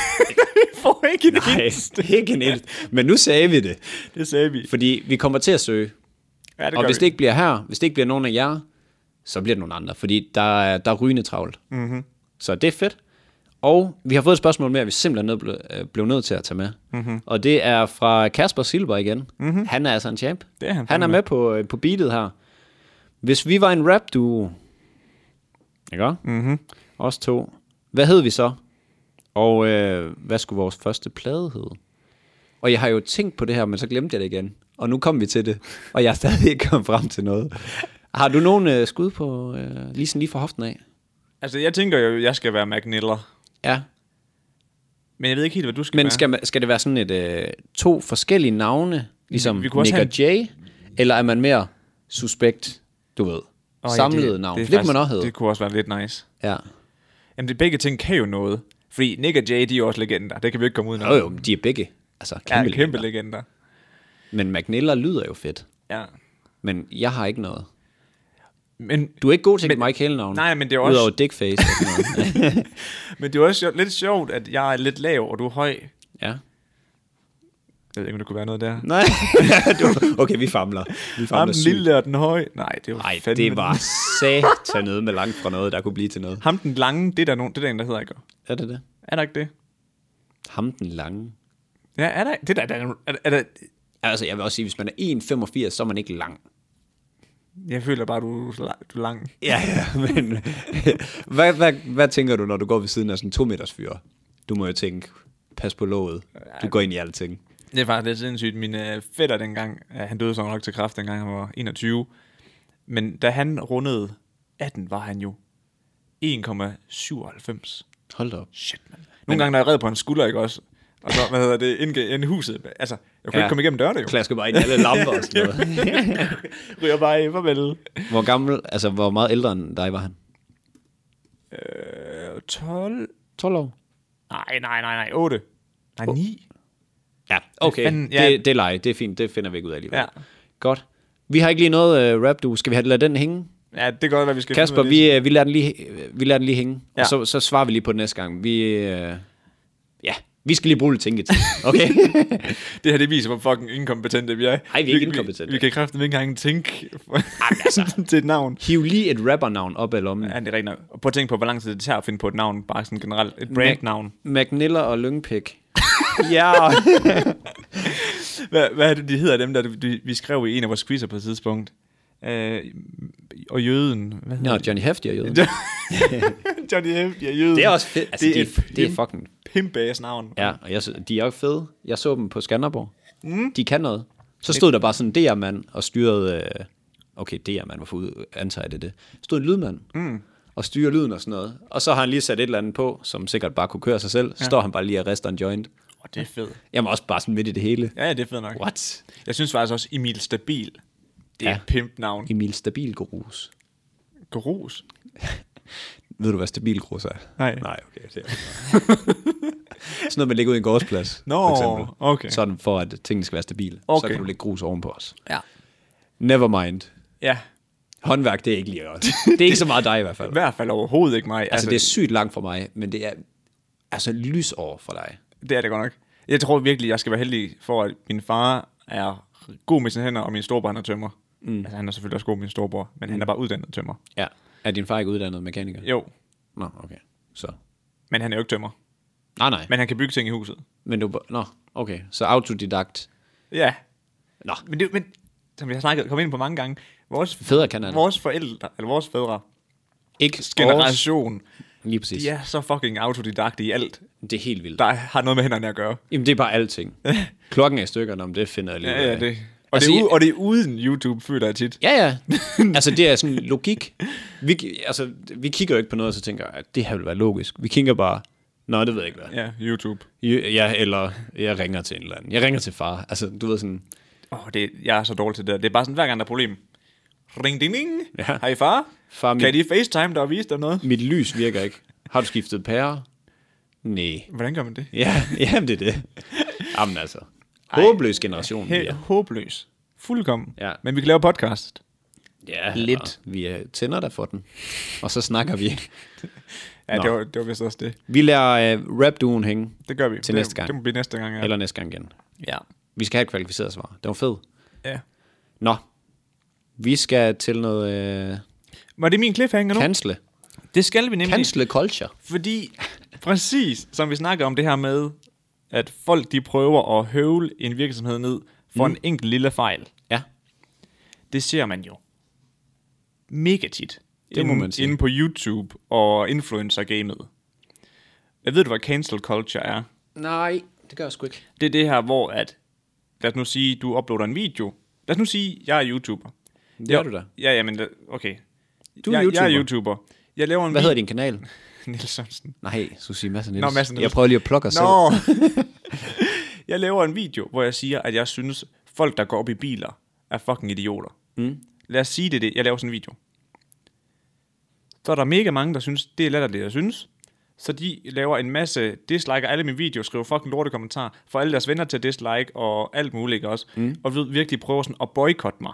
Speaker 1: Får ikke en
Speaker 2: nej,
Speaker 1: hit.
Speaker 2: det er ikke en et. Men nu sagde vi det,
Speaker 1: Det sagde vi.
Speaker 2: fordi vi kommer til at søge
Speaker 1: Ja, det
Speaker 2: og
Speaker 1: gør
Speaker 2: hvis
Speaker 1: vi.
Speaker 2: det ikke bliver her, hvis det ikke bliver nogen af jer, så bliver det nogen andre, fordi der er, der er rygende travlt. Mm-hmm. Så det er fedt. Og vi har fået et spørgsmål mere, vi simpelthen nød, ble, øh, blev nødt til at tage med.
Speaker 1: Mhm.
Speaker 2: Mm-hmm. Og det er fra Kasper Silber igen. Mm-hmm. Han er altså en champ.
Speaker 1: Det er han
Speaker 2: han er
Speaker 1: fandme.
Speaker 2: med på, øh, på beatet her. Hvis vi var en rap duo, ikke
Speaker 1: Mhm.
Speaker 2: mm-hmm. Os to. Hvad hed vi så? Og øh, hvad skulle vores første plade hedde? Og jeg har jo tænkt på det her, men så glemte jeg det igen. Og nu kom vi til det, og jeg er stadig ikke kommet frem til noget. Har du nogen øh, skud på, øh, lige sådan lige fra hoften af?
Speaker 1: Altså, jeg tænker jo, jeg skal være Mac Niller.
Speaker 2: Ja,
Speaker 1: Men jeg ved ikke helt, hvad du skal
Speaker 2: men
Speaker 1: være.
Speaker 2: skal, man- skal det være sådan et øh, to forskellige navne, ligesom
Speaker 1: Vi-
Speaker 2: vi
Speaker 1: vi kunne også
Speaker 2: Nick og Jay? Eller er man mere suspekt, du ved?
Speaker 1: Åh,
Speaker 2: Oh,
Speaker 1: ja,
Speaker 2: samlet ja, navn, det, det, det kunne man også hedde.
Speaker 1: Det kunne også være lidt nice.
Speaker 2: Ja.
Speaker 1: Jamen, det begge ting kan jo noget. Fordi Nick og Jay, de er også legender. Det kan vi ikke komme udenom.
Speaker 2: Jo jo, men de er begge. Altså, kæmpe,
Speaker 1: ja, kæmpe legender.
Speaker 2: Men McNiller lyder jo fedt.
Speaker 1: Ja.
Speaker 2: Men jeg har ikke noget.
Speaker 1: Men,
Speaker 2: Du er ikke god til
Speaker 1: Men-
Speaker 2: Mike Hale-navn.
Speaker 1: Nej, men det er også-
Speaker 2: Udover dickface og sådan noget.
Speaker 1: men det er jo også sjo- lidt sjovt, at jeg er lidt lav, og du er høj.
Speaker 2: ja.
Speaker 1: Jeg ved ikke, om det kunne være noget der.
Speaker 2: Nej. du, okay, vi famler. Vi
Speaker 1: Ham
Speaker 2: famler
Speaker 1: den
Speaker 2: sygt.
Speaker 1: lille og den høje. Nej, det var
Speaker 2: Nej,
Speaker 1: fandme...
Speaker 2: det var satan noget med langt fra noget, der kunne blive til noget.
Speaker 1: Ham den lange, det er der nogen, det er der en, der hedder, ikke?
Speaker 2: Er det det?
Speaker 1: Er der ikke det?
Speaker 2: Ham den lange.
Speaker 1: Ja, er der, det der, der, er, er der,
Speaker 2: Altså, jeg vil også sige, hvis man er 1,85, så er man ikke lang.
Speaker 1: jeg føler bare, du, er la- du er lang.
Speaker 2: Ja, ja, men... hvad, hvad, hvad tænker du, når du går ved siden af sådan en to meters fyr? Du må jo tænke, pas på låget. Du går ind i alting.
Speaker 1: Det er faktisk lidt sindssygt. Min øh, fætter dengang, øh, han døde så nok til kræft, dengang han var 21. Men da han rundede 18, var han jo 1,97.
Speaker 2: Hold da op.
Speaker 1: Shit, mand. Nogle gange, når jeg red på hans skulder, ikke også? Og så, hvad hedder det, indgå, ind i huset. Altså, jeg kunne ja. ikke komme igennem dørene, jo.
Speaker 2: Klasker bare ind i alle lamper og sådan noget.
Speaker 1: Ryger bare af, farvel.
Speaker 2: Hvor gammel, altså hvor meget ældre end dig var han?
Speaker 1: Øh, 12?
Speaker 2: 12 år.
Speaker 1: Nej, nej, nej, nej, 8. Nej, 9.
Speaker 2: Ja, okay.
Speaker 1: fanden-
Speaker 2: Fanden,
Speaker 1: ja.
Speaker 2: ja. Det, det er lege. Det er fint. Det finder vi ikke ud af alligevel.
Speaker 1: Ja.
Speaker 2: Ja. Godt. Vi har ikke lige noget øh, rap, du. Skal vi have lade den hænge?
Speaker 1: Ja, det er godt, hvad vi skal
Speaker 2: Kasper,
Speaker 1: finde ud af lige-
Speaker 2: vi, øh, vi, lader den lige, øh, vi lader den lige hænge. Ja.
Speaker 1: Ja.
Speaker 2: Og så, så svarer vi lige på den næste gang. Vi, øh, ja, vi skal lige bruge lidt tænketid. Okay?
Speaker 1: Det her, det viser, hvor fucking inkompetente vi er.
Speaker 2: er ikke inkompetente.
Speaker 1: Vi, vi kan kraften ikke engang tænke
Speaker 2: altså.
Speaker 1: til et navn.
Speaker 2: Hiv lige et rappernavn op af lommen.
Speaker 1: Ja, det er rigtigt nok. Og prøv at tænke på, hvor lang tid det tager at finde på et navn, bare sådan generelt. Et brandnavn.
Speaker 2: McNiller og Lyngpik. ja, og-
Speaker 1: Hvad, hvad er det, de hedder dem, der de, vi skrev i en af vores quizzer på et tidspunkt? Øh, og jøden. Hvad hedder
Speaker 2: Nå, Johnny Hefti og Jøden.
Speaker 1: det? Johnny F. Ja, jøden.
Speaker 2: Det er også fedt. Altså,
Speaker 1: det er,
Speaker 2: det, er,
Speaker 1: et
Speaker 2: det er fucking...
Speaker 1: pimp-ass navn.
Speaker 2: Ja, og jeg, sy- de er også fede. Jeg så dem på Skanderborg. Mm. De kan noget. Så stod der bare sådan en DR-mand og styrede... Øh, okay, DR-mand, hvorfor ud- antager jeg det det? Stod en lydmand mm. og styrer lyden og sådan noget. Og så har han lige sat et eller andet på, som sikkert bare kunne køre sig selv. Ja. Står han bare lige og rister en joint.
Speaker 1: Åh, det er fedt.
Speaker 2: Jamen også bare sådan midt i det hele.
Speaker 1: Ja, ja, det er fedt nok.
Speaker 2: What?
Speaker 1: Jeg synes faktisk også, Emil Stabil, det er
Speaker 2: Ja.
Speaker 1: ja. et pimp-navn.
Speaker 2: Emil Stabilgrus.
Speaker 1: Grus.
Speaker 2: Ved du, hvad Stabilgrus er?
Speaker 1: Nej.
Speaker 2: Nej, okay. Det er sådan noget, man lægger ud i en gårdsplads,
Speaker 1: Nå,
Speaker 2: for eksempel.
Speaker 1: okay.
Speaker 2: Sådan for, at tingene skal være stabile. Så
Speaker 1: Okay.
Speaker 2: kan du lægge grus ovenpå os.
Speaker 1: Ja.
Speaker 2: Never mind.
Speaker 1: Ja,
Speaker 2: Håndværk, det er ikke lige godt. Det er ikke så meget dig i hvert fald.
Speaker 1: i hvert fald overhovedet ikke mig.
Speaker 2: Altså, det er sygt langt for mig, men det er altså lys over for dig.
Speaker 1: Det er det godt nok. Jeg tror virkelig, jeg skal være heldig for, at min far er god med sine hænder, og min storebror han er tømmer. Mm. Altså, han er selvfølgelig også god, min storebror, men mm. han er bare uddannet tømmer.
Speaker 2: Ja. Er din far ikke uddannet mekaniker?
Speaker 1: Jo,
Speaker 2: Nå, okay. Så.
Speaker 1: men han er jo ikke tømmer.
Speaker 2: Nej, nej. Men,
Speaker 1: Men han kan bygge ting i huset.
Speaker 2: men du... Nå, okay. Så autodidakt.
Speaker 1: Ja.
Speaker 2: Nå.
Speaker 1: Men, det, men som vi har snakket, kom ind på mange gange, vores,
Speaker 2: Fædre kan han.
Speaker 1: vores forældre, eller vores fædre,
Speaker 2: Ikke vores.
Speaker 1: generation,
Speaker 2: Lige præcis.
Speaker 1: de er så fucking autodidakte i alt,
Speaker 2: Det er helt vildt.
Speaker 1: der har noget med hænderne at gøre.
Speaker 2: Jamen, det er bare alting. Klokken er i stykker, om det finder jeg lige
Speaker 1: Ja,
Speaker 2: ud
Speaker 1: ja,
Speaker 2: af.
Speaker 1: det. Og, altså,
Speaker 2: Altså,
Speaker 1: det er,
Speaker 2: jeg-
Speaker 1: u- og det er uden YouTube, føler jeg tit.
Speaker 2: Ja, ja. Altså, det er sådan logik. Vi, ki- altså, vi kigger jo ikke på noget, og så tænker, at det her vil være logisk. Vi kigger bare, nej, det ved jeg ikke hvad.
Speaker 1: Ja, YouTube.
Speaker 2: Ja, eller jeg ringer til en eller anden. Jeg ringer til far. Altså, du ved sådan,
Speaker 1: Åh, oh, jeg er så dårlig til det der. Det er bare sådan, hver gang der er et problem. Ring ding ding.
Speaker 2: Ja.
Speaker 1: Hej far.
Speaker 2: Far,
Speaker 1: Kan
Speaker 2: mit,
Speaker 1: de facetime dig og vise dig noget?
Speaker 2: mit lys virker ikke. Har du skiftet pære? Nej.
Speaker 1: Hvordan gør man det?
Speaker 2: Ja, jamen det er det. Jamen altså. Håbløs generation, vi
Speaker 1: Helt
Speaker 2: er.
Speaker 1: håbløs. Fuldkommen.
Speaker 2: Ja.
Speaker 1: Men vi kan lave podcast.
Speaker 2: Ja,
Speaker 1: Lidt.
Speaker 2: og Vi er tænder der for den. Og så snakker vi.
Speaker 1: Ja,
Speaker 2: Nå.
Speaker 1: det var, det var vist også det.
Speaker 2: Vi lader uh, rap-duen hænge.
Speaker 1: Det gør vi.
Speaker 2: Til
Speaker 1: det,
Speaker 2: næste gang.
Speaker 1: Det må blive næste gang, ja.
Speaker 2: Eller næste gang igen.
Speaker 1: Ja.
Speaker 2: Vi skal have et kvalificeret svar. Det var fedt.
Speaker 1: ja.
Speaker 2: Nå. Vi skal til noget øh,
Speaker 1: Var det min cliffhanger nu?
Speaker 2: cancele.
Speaker 1: Det skal vi nemlig.
Speaker 2: Cancele culture.
Speaker 1: Fordi, præcis som vi snakker om det her med, at folk de prøver at høvle en virksomhed ned for mm. en enkelt lille fejl.
Speaker 2: Ja.
Speaker 1: Det ser man jo mega tit.
Speaker 2: Det må
Speaker 1: inde,
Speaker 2: man sige.
Speaker 1: Inde på YouTube og influencer-gamet. Jeg ved du, hvad cancel culture er?
Speaker 2: Nej, det gør jeg sgu ikke.
Speaker 1: Det er det her, hvor at, lad os nu sige, du uploader en video. Lad os nu sige, jeg er YouTuber.
Speaker 2: Det
Speaker 1: Jo,
Speaker 2: er du da.
Speaker 1: Ja, ja, men da- okay.
Speaker 2: Du er
Speaker 1: jeg, Jeg er
Speaker 2: YouTuber.
Speaker 1: YouTuber. Jeg laver en
Speaker 2: Hvad hedder din kanal?
Speaker 1: video. Niels Sørensen.
Speaker 2: Nej, Susie Madsen
Speaker 1: Nå,
Speaker 2: Nielsen.
Speaker 1: Madsen Nielsen.
Speaker 2: Jeg prøver lige at plukke os selv.
Speaker 1: Nå. jeg laver en video, hvor jeg siger, at jeg synes, folk, der går op i biler, er fucking idioter. Mm. Lad os sige det, er det. Jeg laver sådan en video. Så er der mega mange, der synes, det er latterligt, jeg synes. Så de laver en masse dislike af alle mine videoer, skriver fucking lorte kommentarer, får alle deres venner til at dislike og alt muligt ikke også. Mm. Og vir- virkelig prøver sådan at boykotte mig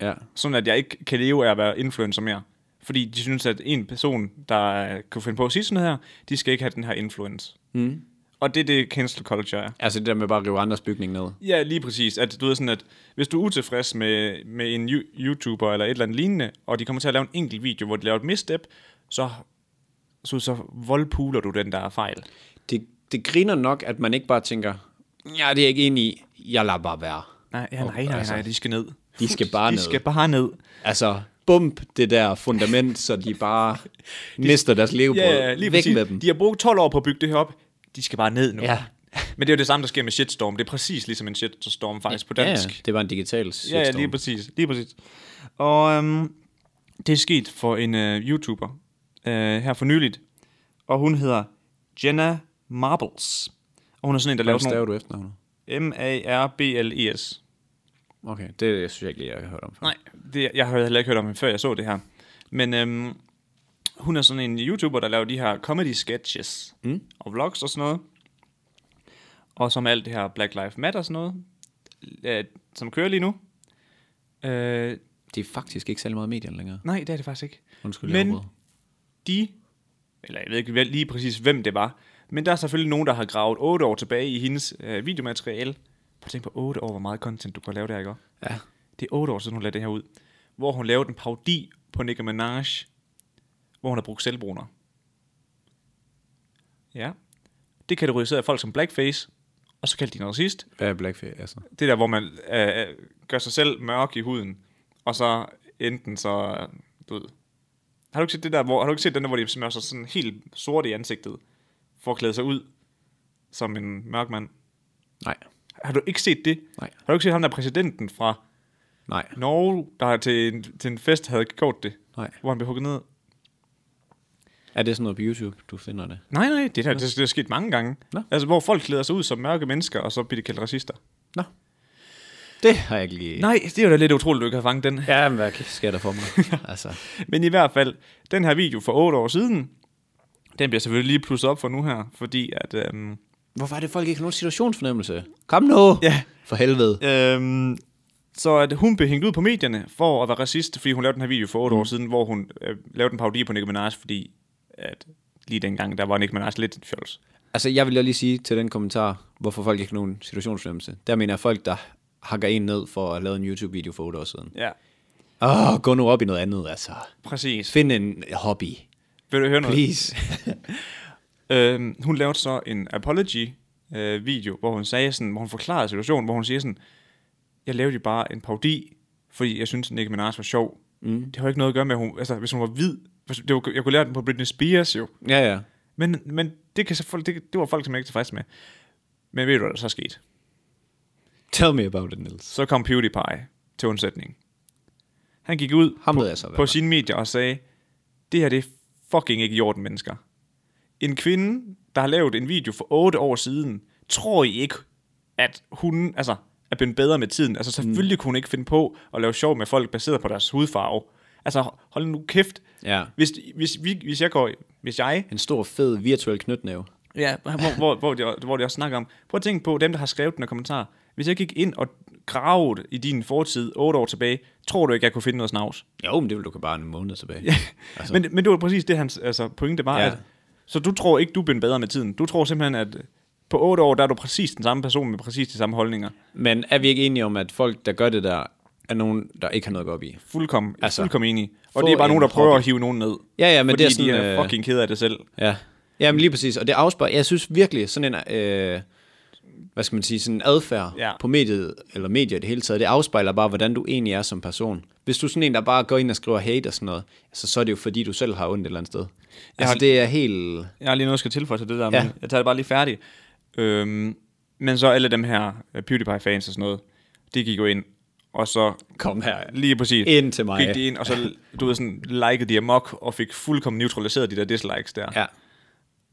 Speaker 2: Ja.
Speaker 1: sådan at jeg ikke kan leve af at være influencer mere. Fordi de synes, at en person, der øh, kunne finde på at sige sådan noget her, de skal ikke have den her influence. Mm. Og det er det cancel culture er.
Speaker 2: Altså det der med bare at rive andres bygning ned.
Speaker 1: Ja, lige præcis. At du ved sådan, at hvis du er utilfreds med, med en you- YouTuber eller et eller andet lignende, og de kommer til at lave en enkelt video, hvor de laver et misstep, så, så, så voldpuler du den, der er fejl.
Speaker 2: Det, det griner nok, at man ikke bare tænker, ja, det er jeg ikke enig i. Jeg lader bare være.
Speaker 1: Nej, ja, nej, nej, nej, de skal ned.
Speaker 2: De skal bare
Speaker 1: altså, de
Speaker 2: ned.
Speaker 1: skal bare ned.
Speaker 2: Altså, bump det der fundament, så de bare mister deres levebrød.
Speaker 1: Ja, ja, lige
Speaker 2: Væk
Speaker 1: præcis.
Speaker 2: med dem.
Speaker 1: De har brugt 12 år på at bygge det her op. De skal bare ned nu.
Speaker 2: Ja.
Speaker 1: Men det er jo det samme, der sker med shitstorm. Det er præcis ligesom en shitstorm faktisk på dansk.
Speaker 2: Ja, det var en digital
Speaker 1: Ja, ja, lige præcis. Lige præcis. Og øhm, det er sket for en øh, YouTuber øh, her for nyligt. Og hun hedder Jenna Marbles. Og hun er sådan en, der laver
Speaker 2: Hvad
Speaker 1: sådan
Speaker 2: staver du efternavnet?
Speaker 1: nogle... M-A-R-B-L-E-S.
Speaker 2: Okay, det synes jeg ikke lige, jeg har hørt om. før.
Speaker 1: Nej, det, jeg har heller ikke hørt om hende, før jeg så det her. Men øhm, hun er sådan en YouTuber, der laver de her comedy sketches mm. og vlogs og sådan noget. Og som alt det her Black Lives Matter og sådan noget, øh, som kører lige nu. Øh,
Speaker 2: Det er faktisk ikke særlig meget medier længere.
Speaker 1: nej, det er det faktisk ikke.
Speaker 2: Undskyld, jeg
Speaker 1: Men
Speaker 2: afbryder.
Speaker 1: de, eller jeg ved ikke vel- lige præcis, hvem det var, men der er selvfølgelig nogen, der har gravet 8 år tilbage i hendes øh, videomateriale. Prøv at tænke på 8 år, hvor meget content du kan lave der, ikke? også?
Speaker 2: Ja.
Speaker 1: Det er 8 år siden, hun lavede det her ud. Hvor hun lavede en parodi på Nicki Minaj, hvor hun har brugt selvbruner. Ja. Det kategoriserede folk som blackface, og så kaldte de en racist.
Speaker 2: Hvad er blackface? Altså?
Speaker 1: Det der, hvor man øh, øh, gør sig selv mørk i huden, og så enten så, øh, du ved, har du ikke set det der, hvor, har du ikke set den der, hvor de smører sig sådan helt sort i ansigtet, for at klæde sig ud som en mørk mand?
Speaker 2: Nej,
Speaker 1: Har du ikke set det?
Speaker 2: Nej.
Speaker 1: Har du ikke set ham der præsidenten fra
Speaker 2: nej,
Speaker 1: Norge, der til en, til en fest havde gjort det,
Speaker 2: nej.
Speaker 1: hvor han blev hugget ned.
Speaker 2: Er det sådan noget på YouTube, du finder det?
Speaker 1: Nej, nej, det er, det, det er sket mange gange.
Speaker 2: Nå.
Speaker 1: Altså, hvor folk klæder sig ud som mørke mennesker, og så bliver de kaldt racister.
Speaker 2: Nå. Det har jeg ikke lige...
Speaker 1: Nej, det er jo da lidt utroligt, du ikke har fanget den.
Speaker 2: Ja, men hvad sker der for mig? altså,
Speaker 1: Men i hvert fald, den her video for 8 år siden, den bliver selvfølgelig lige plusset op for nu her, fordi at... Øhm,
Speaker 2: hvorfor er det, folk ikke har nogen situationsfornemmelse? Kom nu!
Speaker 1: Ja.
Speaker 2: For helvede.
Speaker 1: øhm, så at hun blev hængt ud på medierne for at være racist, fordi hun lavede den her video for 8 mm. år siden, hvor hun øh, lavede en parodi på Nicki Minaj, fordi at lige dengang, der var Nicki Minaj lidt en fjols.
Speaker 2: Altså, jeg vil jo lige sige til den kommentar, hvorfor folk ikke har nogen situationsfornemmelse. Der mener jeg folk, der hakker en ned for at have lavet en YouTube-video for otte år siden.
Speaker 1: Ja,
Speaker 2: Åh, oh, gå nu op i noget andet, altså.
Speaker 1: præcis.
Speaker 2: Find en hobby,
Speaker 1: Vil du høre noget?
Speaker 2: please.
Speaker 1: Øhm, hun lavede så en apology-video, hvor hun sagde sådan, hvor hun forklarede situationen, hvor hun siger sådan, jeg lavede jo bare en parodi, fordi jeg synes Nicki Minaj var sjov. Mm. Det har jo ikke noget at gøre med, at hun, altså, hvis hun var hvid. hvis- Det var, jeg kunne lære den på Britney Spears jo.
Speaker 2: ja, ja.
Speaker 1: Men, men det, kan så, folk- det, det var folk, som ikke tilfredse med. Men ved du, hvad der så skete?
Speaker 2: Tell me about it, Niels.
Speaker 1: Så kom PewDiePie til undsætning. Han gik ud
Speaker 2: Ham
Speaker 1: på,
Speaker 2: ved jeg så, hvad
Speaker 1: på
Speaker 2: var.
Speaker 1: sine medier og sagde, det her det er fucking ikke i orden, mennesker. En kvinde, der har lavet en video for 8 år siden, tror I ikke, at hun altså, er blevet bedre med tiden? Altså
Speaker 2: Mm.
Speaker 1: selvfølgelig kunne hun ikke finde på at lave sjov med folk baseret på deres hudfarve. Altså hold nu kæft.
Speaker 2: Ja.
Speaker 1: Hvis, hvis, vi, hvis jeg går, hvis jeg
Speaker 2: En stor, fed virtuel knytnæve.
Speaker 1: Ja, hvor, hvor, hvor, de, hvor de også snakker om. Prøv at tænke på dem, der har skrevet den her kommentar. Hvis jeg gik ind og gravede i din fortid 8 år tilbage, tror du ikke, jeg kunne finde noget snavs?
Speaker 2: Jo, men det vil du kan bare en måned tilbage.
Speaker 1: Altså. Men, men det var præcis det, hans altså, pointe var.
Speaker 2: Ja.
Speaker 1: Ja. At, så du tror ikke, du er blevet bedre med tiden. Du tror simpelthen, at øh, på 8 år, der er du præcis den samme person med præcis de samme holdninger.
Speaker 2: Men er vi ikke enige om, at folk, der gør det der, er nogen, der ikke har noget at gå op i?
Speaker 1: Fuldkommen,
Speaker 2: Altså,
Speaker 1: altså, fuldkommen enig. Og
Speaker 2: få
Speaker 1: det er bare nogen, der
Speaker 2: en
Speaker 1: prøver
Speaker 2: hobby.
Speaker 1: at hive nogen ned.
Speaker 2: Ja, ja, men
Speaker 1: fordi
Speaker 2: det er sådan... øh,
Speaker 1: de er øh, fucking ked af det selv.
Speaker 2: Ja, Jamen, lige præcis. Og det afspejler, jeg synes virkelig, sådan en, øh, hvad skal man sige, sådan en adfærd ja.
Speaker 1: Ja.
Speaker 2: på mediet, eller medier i det hele taget, det afspejler bare, hvordan du egentlig er som person. Hvis du er sådan en, der bare går ind og skriver hate og sådan noget, altså, så er det jo fordi, du selv har ondt et eller andet sted. Altså,
Speaker 1: har-
Speaker 2: det er helt...
Speaker 1: Jeg har lige noget, jeg skal tilføje til det der, men
Speaker 2: Ja.
Speaker 1: jeg tager det bare lige færdigt. Øhm, men så alle dem her øh, PewDiePie-fans og sådan noget, de gik jo ind, og så
Speaker 2: Kom her.
Speaker 1: lige præcis
Speaker 2: Ind til mig.
Speaker 1: gik de ind, og så du ved, sådan, likede de amok, og fik fuldkommen neutraliseret de der dislikes der.
Speaker 2: Ja.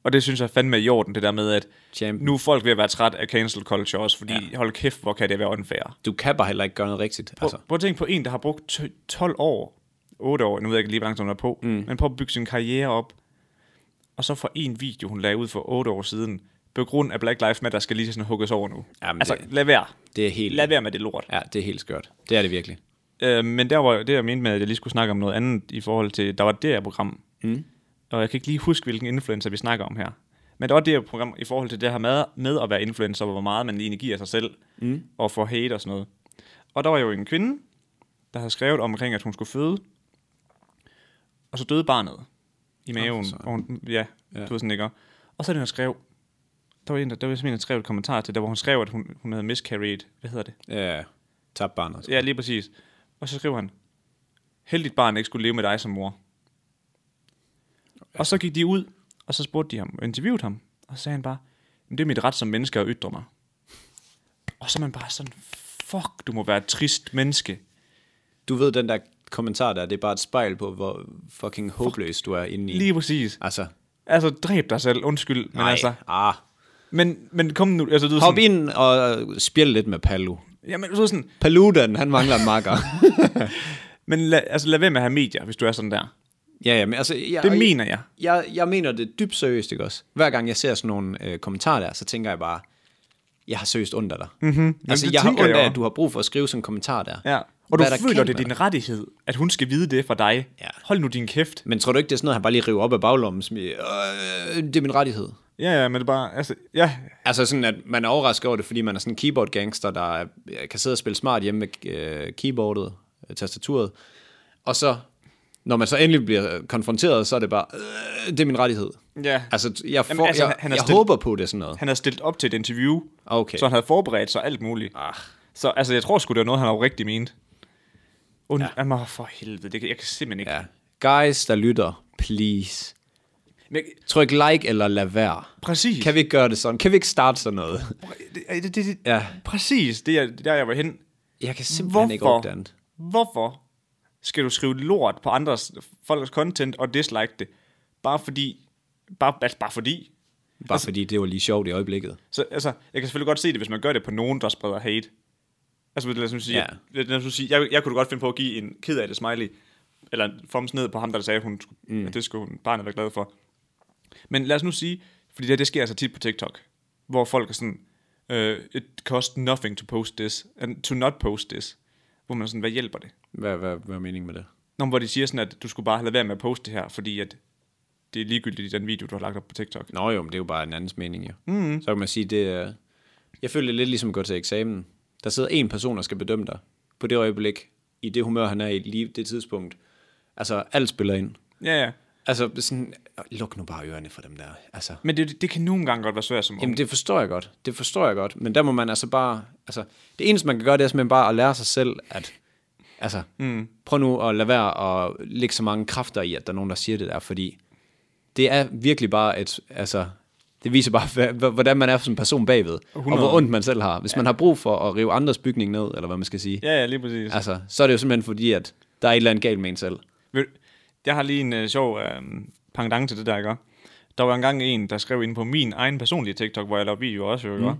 Speaker 1: Og det synes jeg fandme er i orden, det der med, at
Speaker 2: Champion.
Speaker 1: nu er folk ved at være træt af cancel culture også, fordi ja. hold kæft, hvor kan det være unfair.
Speaker 2: Du kan bare heller ikke gøre noget rigtigt. Altså.
Speaker 1: Altså. Prøv at tænke på en, der har brugt t- 12 år, 8 år, nu ved jeg ikke lige, hvor langt hun er på, mm. men på at bygge sin karriere op, og så for en video, hun lagde ud for 8 år siden, på grund af Black Lives Matter, skal lige sådan hugges over nu.
Speaker 2: Jamen,
Speaker 1: altså,
Speaker 2: det-
Speaker 1: lad være.
Speaker 2: Det er helt...
Speaker 1: Lad være med det lort.
Speaker 2: Ja, det er helt skørt. Det er det virkelig.
Speaker 1: Øh, men der var det, jeg mente med, at jeg lige skulle snakke om noget andet i forhold til, der var det her program. Mm. Og jeg kan ikke lige huske, hvilken influencer vi snakker om her. Men der var det her program i forhold til det her med, med at være influencer, hvor meget man egentlig giver sig selv, mm. og får hate og sådan noget. Og der var jo en kvinde, der havde skrevet omkring, at hun skulle føde, og så døde barnet i maven.
Speaker 2: søren.
Speaker 1: Oh, og hun, ja,
Speaker 2: Ja.
Speaker 1: ja, du ved sådan ikke. Og så er det, hun skrev, der var en, der, der var simpelthen, der skrev et kommentar til, der hvor hun skrev, at hun, hun havde miscarried, hvad hedder det?
Speaker 2: Ja, tab barnet.
Speaker 1: Ja, lige præcis. Og så skriver han, heldigt barn ikke skulle leve med dig som mor. Og så gik de ud, og så spurgte de ham, interviewede ham, og så sagde han bare, "Men det er mit ret som menneske at ytre mig. Og så er man bare sådan, fuck, du må være et trist menneske.
Speaker 2: Du ved, den der kommentar der, det er bare et spejl på, hvor fucking håbløs du er inde i.
Speaker 1: Lige præcis.
Speaker 2: Altså,
Speaker 1: Altså, dræb dig selv, undskyld. Men,
Speaker 2: nej,
Speaker 1: altså,
Speaker 2: ah.
Speaker 1: men, men kom nu, altså, du ved
Speaker 2: Hop
Speaker 1: sådan,
Speaker 2: ind og spjæl lidt med Palu.
Speaker 1: jamen, du ved sådan,
Speaker 2: Paludan, han mangler en makker.
Speaker 1: men lad, altså, lad være med at have medier, hvis du er sådan der.
Speaker 2: ja, ja, men altså... Jeg,
Speaker 1: Det mener jeg.
Speaker 2: Jeg, jeg mener det dybt seriøst, ikke også? Hver gang jeg ser sådan nogle øh, kommentarer der, så tænker jeg bare, jeg har seriøst ondt af dig. Mm-hmm. Altså,
Speaker 1: Mhm. det
Speaker 2: jeg har ondt
Speaker 1: tænker jeg
Speaker 2: af,
Speaker 1: også.
Speaker 2: at du har brug for at skrive sådan en kommentar der.
Speaker 1: Ja. Og du
Speaker 2: Hvad er der
Speaker 1: føler,
Speaker 2: galt
Speaker 1: det er
Speaker 2: med
Speaker 1: din rettighed, at hun skal vide det for dig.
Speaker 2: Ja.
Speaker 1: Hold nu din kæft.
Speaker 2: Men tror du ikke, det er sådan noget, han bare lige river op af baglommen? Som, i, øh, det er min rettighed.
Speaker 1: Ja, ja, men det er bare, altså, ja,
Speaker 2: Altså sådan, at man er overrasket over det, fordi man er sådan en keyboard-gangster, der er- kan sidde og spille smart hjemme med øh, keyboardet, øh, tastaturet. Og så, når man så endelig bliver øh, konfronteret, så er det bare, øh, det er min rettighed.
Speaker 1: Ja.
Speaker 2: Altså, t- jeg, får,
Speaker 1: Jamen, altså,
Speaker 2: jeg,
Speaker 1: han er
Speaker 2: jeg
Speaker 1: stillet-
Speaker 2: håber på det er sådan noget.
Speaker 1: han havde stillet op til et interview,
Speaker 2: Okay.
Speaker 1: så han havde forberedt sig alt muligt.
Speaker 2: Ah.
Speaker 1: Så altså, jeg tror sgu, det var noget, han oprigtigt mente. Und,
Speaker 2: Ja.
Speaker 1: ja. Jamen, åh, for helvede, det, kan- jeg kan simpelthen ikke. Ja.
Speaker 2: Ja. Guys, der lytter, please.
Speaker 1: Men,
Speaker 2: Tryk like eller lad være.
Speaker 1: præcis.
Speaker 2: Kan vi ikke gøre det sådan? Kan vi ikke starte sådan noget?
Speaker 1: det, det, det, det,
Speaker 2: Ja.
Speaker 1: Præcis, det er det er der, jeg var hen.
Speaker 2: Jeg kan simpelthen Hvorfor? ikke
Speaker 1: Hvorfor?
Speaker 2: ordne andet.
Speaker 1: Hvorfor skal du skrive lort på andres folks content og dislike det? Bare fordi, bare, altså, bare fordi.
Speaker 2: Bare altså, fordi det var lige sjovt i øjeblikket.
Speaker 1: Så, altså, jeg kan selvfølgelig godt se det, hvis man gør det på nogen, der spreder hate. Altså, lad os nu sige,
Speaker 2: Ja.
Speaker 1: ja. lad os nu sige jeg, jeg kunne da godt finde på at give en ked af det smiley, eller en thumbs ned på ham, der sagde, at, hun, skulle-
Speaker 2: Mm.
Speaker 1: at det skulle hun, barnet være glad for. Men lad os nu sige, fordi det, her, det sker altså tit på TikTok, hvor folk er sådan, øh, it cost nothing to post this, and to not post this, hvor man er sådan, hvad hjælper det?
Speaker 2: Hvad, hvad, hvad er meningen med det?
Speaker 1: Nå, men hvor de siger sådan, at du skulle bare lade være med at poste det her, fordi at det er ligegyldigt i den video, du har lagt op på TikTok.
Speaker 2: Nå jo, men det er jo bare en andens mening jo. Mm. Så kan man sige, det er... Jeg føler det lidt ligesom at gå til eksamen. Der sidder en person, der skal bedømme dig på det øjeblik, i det humør, han er i lige det tidspunkt. Altså, alt spiller ind.
Speaker 1: Ja, ja.
Speaker 2: Altså, sådan, luk nu bare ørerne for dem der. Altså,
Speaker 1: Men det, det kan nogle gange godt være svært som ung.
Speaker 2: Jamen, det forstår jeg godt. Det forstår jeg godt. Men der må man altså bare... Altså, det eneste, man kan gøre, det er simpelthen bare at lære sig selv, at... Altså, mm. prøv nu at lade være at lægge så mange kræfter i, at der er nogen, der siger det der, fordi det er virkelig bare et... Altså, det viser bare, hvad- hva- hvordan man er som person bagved, 100. og
Speaker 1: 100.
Speaker 2: hvor ondt man selv har. Hvis man har brug for at rive andres bygning ned, eller hvad man skal sige,
Speaker 1: Ja, ja, lige præcis.
Speaker 2: altså, så er det jo simpelthen fordi, at der er et eller andet galt med en selv.
Speaker 1: Ved du, Jeg har lige en øh, sjov øh, pangdang til det der, ikke? Der var engang en, der skrev ind på min egen personlige TikTok, hvor jeg lavede video også, jo, mm.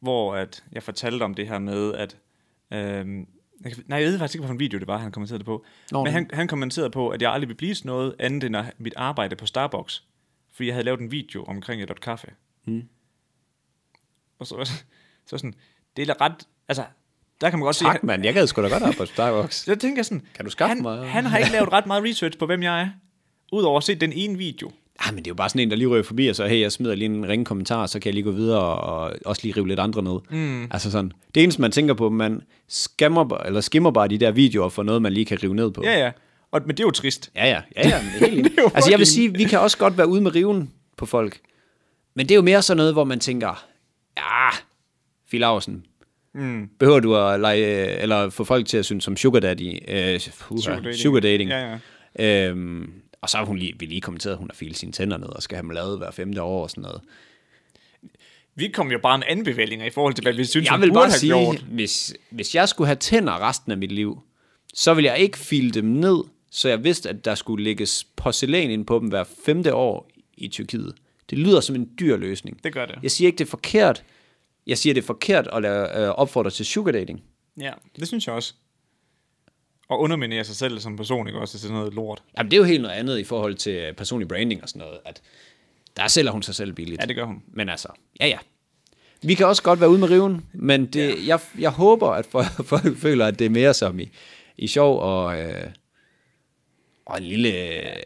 Speaker 1: hvor at jeg fortalte om det her med, at... Øh, jeg kan, nej, jeg ved faktisk ikke, hvilken video det var, han kommenterede det på.
Speaker 2: Nå,
Speaker 1: Nå, Men
Speaker 2: men-
Speaker 1: han, han kommenterede på, at jeg aldrig ville blive sådan noget andet end at- mit arbejde på Starbucks. Fordi jeg havde lavet en video omkring et dot kaffe.
Speaker 2: Mm.
Speaker 1: Og så, så sådan, det er da ret... Altså, der kan man godt se...
Speaker 2: Tak, mand. Jeg gad sgu da godt arbejde på Starbucks.
Speaker 1: Så jeg tænker sådan,
Speaker 2: Kan du skaffe
Speaker 1: han,
Speaker 2: mig-
Speaker 1: han har ikke lavet ret meget research på, hvem jeg er. Udover at se den ene video.
Speaker 2: Ah, men det er jo bare sådan en, der lige rører forbi, og så, hey, jeg smider lige en ringe kommentar, så kan jeg lige gå videre og også lige rive lidt andre ned. Mm. Altså sådan, det eneste, man tænker på, man skammer, bare- eller skimmer bare de der videoer for noget, man lige kan rive ned på.
Speaker 1: Ja, ja. Og, men det er jo trist.
Speaker 2: ja, ja, ja, ja men helt
Speaker 1: Det er jo
Speaker 2: Altså jeg vil
Speaker 1: fucking-
Speaker 2: sige, vi kan også godt være ude med riven på folk, men det er jo mere sådan noget, hvor man tænker, ja, Filausen, mm. behøver du at lege, eller få folk til at synes som sugar daddy, øh, sugar dating, sugar dating.
Speaker 1: Ja, ja.
Speaker 2: Øhm, og så har hun lige, vi lige kommenteret, at hun har filet sine tænder ned, og skal have dem lavet hver femte år og sådan noget.
Speaker 1: Vi kom jo bare med anbefalinger i forhold til, hvad vi synes,
Speaker 2: jeg
Speaker 1: hun
Speaker 2: vil
Speaker 1: burde
Speaker 2: bare
Speaker 1: have
Speaker 2: sige,
Speaker 1: gjort.
Speaker 2: hvis, hvis jeg skulle have tænder resten af mit liv, så ville jeg ikke file dem ned, så jeg vidste, at der skulle lægges porcelæn ind på dem hver femte år i Tyrkiet. Det lyder som en dyr løsning.
Speaker 1: Det gør det.
Speaker 2: Jeg siger ikke, det er forkert. Jeg siger, det er forkert at lade, øh, opfordre til sugar dating.
Speaker 1: Ja, det synes jeg også. Og underminere sig selv som person, ikke også? Det er sådan noget lort.
Speaker 2: Jamen, det er jo helt noget andet i forhold til øh, personlig branding og sådan noget, at der sælger hun sig selv billigt.
Speaker 1: Ja, det gør hun.
Speaker 2: Men altså, ja ja. Vi kan også godt være ude med riven, men det, ja. jeg, jeg håber, at folk, folk føler, at det er mere som i, i sjov og, øh, og en lille øh,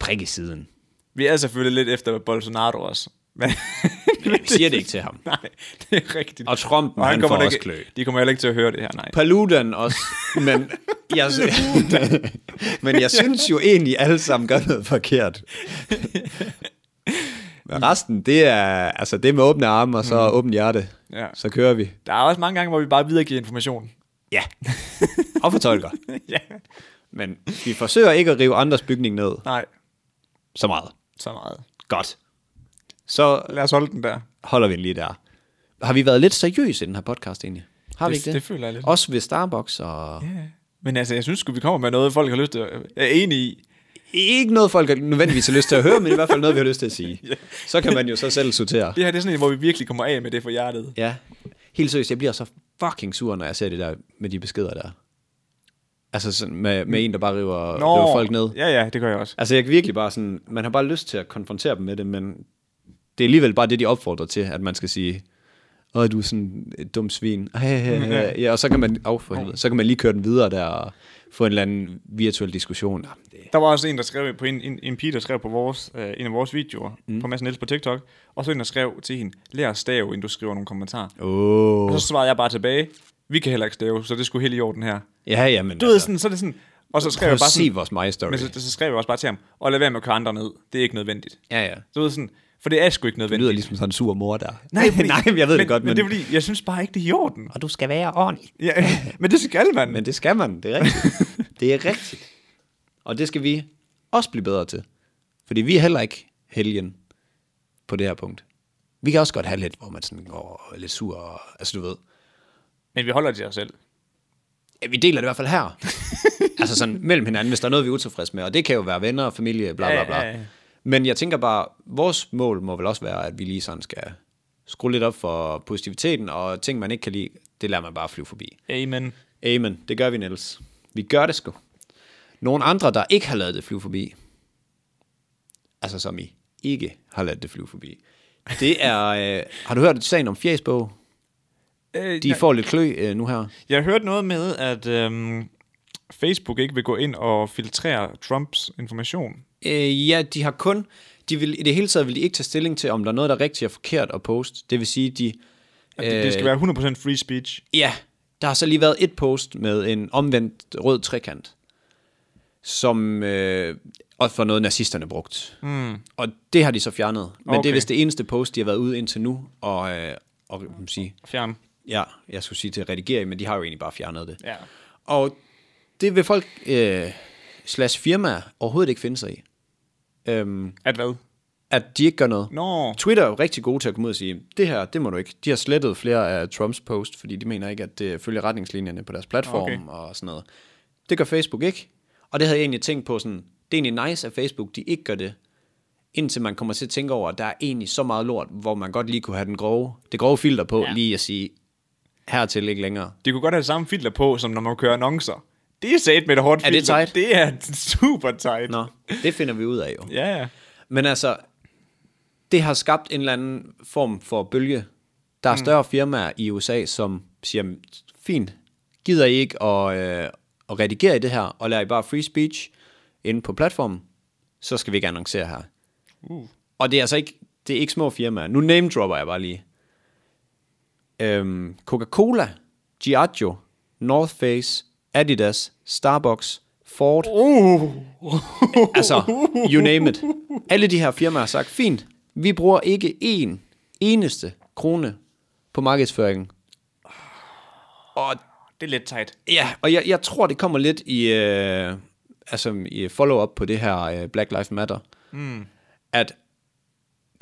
Speaker 2: prik i siden.
Speaker 1: Vi er selvfølgelig lidt efter Bolsonaro også. Men,
Speaker 2: Men vi siger det ikke til ham.
Speaker 1: nej, det er rigtigt.
Speaker 2: Og Trump, han
Speaker 1: kommer
Speaker 2: får
Speaker 1: da
Speaker 2: også
Speaker 1: ikke,
Speaker 2: klø.
Speaker 1: De kommer heller ikke til at høre det her, nej.
Speaker 2: Paludan også, men jeg, men jeg synes jo egentlig, alle sammen gør noget forkert. Men resten, det er, altså det er med åbne arme og så mm. åbent hjerte.
Speaker 1: Ja.
Speaker 2: Så kører vi.
Speaker 1: Der er også mange gange, hvor vi bare videregiver information.
Speaker 2: Ja. og fortolker.
Speaker 1: ja.
Speaker 2: Men vi forsøger ikke at rive andres bygning ned
Speaker 1: Nej,
Speaker 2: så meget.
Speaker 1: så meget.
Speaker 2: Godt. Så
Speaker 1: Lad os holde den der.
Speaker 2: holder vi den lige der. Har vi været lidt seriøse i den her podcast egentlig? Har vi
Speaker 1: Det-
Speaker 2: ikke det?
Speaker 1: det føler jeg lidt.
Speaker 2: Også ved Starbucks og...
Speaker 1: Ja. Men altså, jeg synes sgu, vi kommer med noget, folk har lyst til at... Jeg er enig i.
Speaker 2: Ikke noget, folk nødvendigvis har lyst til at høre, men i hvert fald noget, vi har lyst til at sige. Så kan man jo så selv sortere.
Speaker 1: Det her det er sådan en, hvor vi virkelig kommer af med det for hjertet.
Speaker 2: Ja. Helt seriøst, jeg bliver så fucking sur, når jeg ser det der med de beskeder der. Altså sådan med, med en, der bare river, river folk ned.
Speaker 1: Ja, ja, det gør jeg også.
Speaker 2: Altså jeg kan virkelig bare sådan, man har bare lyst til at konfrontere dem med det, men det er alligevel bare det, de opfordrer til, at man skal sige, åh, du er sådan et dumt svin. Ej, ja. ja, og så kan, man, oh, for helvede, så kan man lige køre den videre der og få en eller anden virtuel diskussion. Ah, det-
Speaker 1: Der var også en, der skrev på en, en, en pige, der skrev på vores, øh, en af vores videoer, mm. på Mads Niels på TikTok, og så en, der skrev til hende, lær at stave, inden du skriver nogle kommentarer.
Speaker 2: Åh, oh.
Speaker 1: Og så svarede jeg bare tilbage, vi kan heller ikke stave, så det skulle helt i orden her.
Speaker 2: ja, ja, men altså-
Speaker 1: Du ved, sådan, så er det sådan, og så skrev
Speaker 2: prøv
Speaker 1: jeg
Speaker 2: at
Speaker 1: bare
Speaker 2: se
Speaker 1: sådan,
Speaker 2: vores My Story.
Speaker 1: men så, så skrev jeg også bare til ham, og lad være med at køre andre ned, det er ikke nødvendigt.
Speaker 2: Ja, ja.
Speaker 1: Du ved sådan, for det er sgu ikke
Speaker 2: Det
Speaker 1: nødvendigt.
Speaker 2: lyder ligesom sådan en sur mor der.
Speaker 1: Nej, fordi,
Speaker 2: nej, men jeg ved
Speaker 1: men,
Speaker 2: det godt,
Speaker 1: men...
Speaker 2: men...
Speaker 1: Men det er fordi, jeg synes bare ikke, det er i orden.
Speaker 2: Og du skal være ordentlig.
Speaker 1: Ja, men det skal man.
Speaker 2: Men det skal man, det er rigtigt. det er rigtigt. Og det skal vi også blive bedre til. Fordi vi er heller ikke helgen på det her punkt. Vi kan også godt have lidt, hvor man sådan går lidt sur, og, altså du ved.
Speaker 1: Men vi holder det til os selv.
Speaker 2: Ja, Vi deler det i hvert fald her. altså sådan mellem hinanden, hvis der er noget, vi er utilfredse med. Og det kan jo være venner, familie, bla bla
Speaker 1: Ja, ja,
Speaker 2: bla.
Speaker 1: ja.
Speaker 2: Men jeg tænker bare, vores mål må vel også være, at vi lige sådan skal skrue lidt op for positiviteten, og ting, man ikke kan lide, det lader man bare flyve forbi.
Speaker 1: Amen.
Speaker 2: Amen. Det gør vi, Niels. Vi gør det sgu. Nogle andre, der ikke har lavet det flyve forbi, altså som I ikke har lavet det flyve forbi, det er... Øh, har du hørt sagen om Fjæsbog?
Speaker 1: Øh,
Speaker 2: De
Speaker 1: jeg,
Speaker 2: får lidt klø øh, nu her.
Speaker 1: jeg hørte noget med, at øhm, Facebook ikke vil gå ind og filtrere Trumps information.
Speaker 2: Øh, ja, de har kun... De vil, I det hele taget vil de ikke tage stilling til, om der er noget, der er rigtigt og forkert at poste. Det vil sige, de...
Speaker 1: Øh.
Speaker 2: Øh,
Speaker 1: At det, det skal være 100% free speech.
Speaker 2: Ja, Der har så lige været et post med en omvendt rød trekant, som øh, og for noget nazisterne brugt. Mm. Og det har de så fjernet. Men okay. det
Speaker 1: Okay.
Speaker 2: er vist det eneste post, de har været ude indtil nu, og, øh, og kan man sige,
Speaker 1: Fjern.
Speaker 2: ja, jeg skulle sige til redigering, men de har jo egentlig bare fjernet det.
Speaker 1: Ja.
Speaker 2: Og det vil folk øh, slash firmaer overhovedet ikke finde sig i. Øhm,
Speaker 1: At hvad?
Speaker 2: at de ikke gør noget.
Speaker 1: Nå.
Speaker 2: Twitter er jo rigtig gode til at komme ud og sige, det her, det må du ikke. De har slettet flere af Trumps post, fordi de mener ikke, at det følger retningslinjerne på deres platform
Speaker 1: Okay.
Speaker 2: okay. og sådan noget. Det gør Facebook ikke. Og det havde jeg egentlig tænkt på sådan, det er egentlig nice, at Facebook de ikke gør det, indtil man kommer til at tænke over, at der er egentlig så meget lort, hvor man godt lige kunne have den grove, det grove filter på,
Speaker 1: Ja.
Speaker 2: ja. lige at sige, hertil ikke længere.
Speaker 1: De kunne godt have samme filter på, som når man kører annoncer. Det er sat med et hårdt
Speaker 2: Er det
Speaker 1: filter.
Speaker 2: tight?
Speaker 1: Det er super tight.
Speaker 2: Nå, det finder vi ud af jo.
Speaker 1: Ja, ja.
Speaker 2: Men altså, det har skabt en eller anden form for bølge. Der er større firmaer i USA, som siger, "Jamen, fint, gider I ikke at, øh, at redigere i det her, og lader I bare free speech inde på platformen, så skal vi ikke annoncere her.
Speaker 1: Uh.
Speaker 2: Og det er altså ikke, det er ikke små firmaer. Nu name dropper jeg bare lige. Øhm, Coca-Cola, Diageo, North Face, Adidas, Starbucks, Ford,
Speaker 1: Uh.
Speaker 2: Altså, you name it. Alle de her firmaer har sagt, fint, vi bruger ikke én eneste krone på markedsføringen. Og,
Speaker 1: Det er lidt tight.
Speaker 2: ja, og jeg, jeg tror, det kommer lidt i, øh, altså, i follow-up på det her øh, Black Lives Matter. Mm. At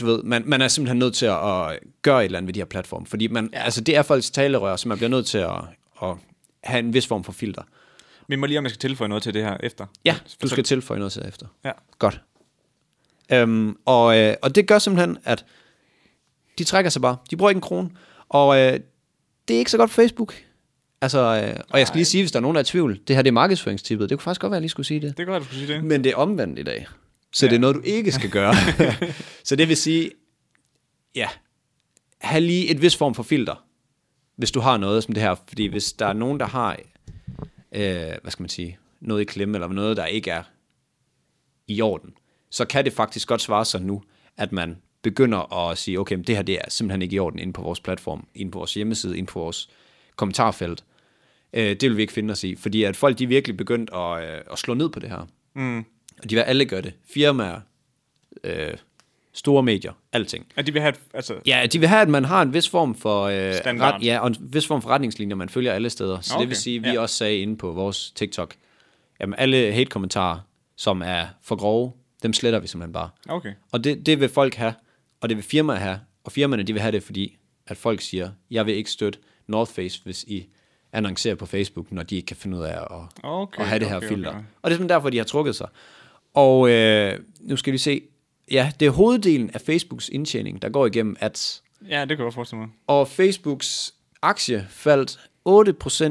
Speaker 2: du ved, man, man er simpelthen nødt til at, at gøre et eller andet ved de her platforme, fordi man, ja. altså, det er folks talerør, så man bliver nødt til at, at have en vis form for filter.
Speaker 1: Vi må lige, om jeg skal tilføje noget til det her efter.
Speaker 2: Ja, du skal tilføje noget til efter.
Speaker 1: Ja.
Speaker 2: Godt. Øhm, og, øh, og det gør simpelthen, at de trækker sig bare. De bruger ikke en krone. Og øh, det er ikke så godt for Facebook. Altså, øh, og jeg skal lige sige, hvis der er nogen, der er i tvivl, det her det er markedsføringstippet. Det kunne faktisk godt være, at jeg lige skulle sige det.
Speaker 1: Det er godt, at du skulle sige det.
Speaker 2: Men det er omvendt i dag. Så ja. det er noget, du ikke skal gøre. så det vil sige, ja, have lige et vis form for filter, hvis du har noget som det her. Fordi hvis der er nogen, der har, øh, hvad skal man sige, noget i klemme, eller noget, der ikke er i orden, så kan det faktisk godt svare sig nu, at man begynder at sige, okay, men det her det er simpelthen ikke i orden inde på vores platform, inde på vores hjemmeside, inde på vores kommentarfelt. Øh, det vil vi ikke finde os i, fordi at folk de er virkelig begyndt at, øh, at slå ned på det her. Mm. Og de vil alle gøre det. Firmaer, øh, store medier, alting.
Speaker 1: At de vil have et, altså,
Speaker 2: Ja, de vil have, at man har en vis form for, øh,
Speaker 1: Standard.
Speaker 2: ja, og en vis form for retningslinjer, man følger alle steder. Så okay.
Speaker 1: Okay,
Speaker 2: det vil sige, at vi
Speaker 1: ja.
Speaker 2: ja. også sagde inde på vores TikTok, jamen alle hate-kommentarer, som er for grove, dem sletter vi simpelthen bare.
Speaker 1: okay.
Speaker 2: Og det, det vil folk have, og det vil firmaer have, og firmaerne de vil have det, fordi at folk siger, jeg vil ikke støtte North Face, hvis I annoncerer på Facebook, når de ikke kan finde ud af at,
Speaker 1: Okay,
Speaker 2: at have det her
Speaker 1: okay,
Speaker 2: filter.
Speaker 1: okay.
Speaker 2: Og det er simpelthen derfor, de har trukket sig. Og øh, nu skal vi se, ja, det er hoveddelen af Facebooks indtjening, der går igennem ads.
Speaker 1: Ja, det kan jeg godt forestille mig.
Speaker 2: Og Facebooks aktie faldt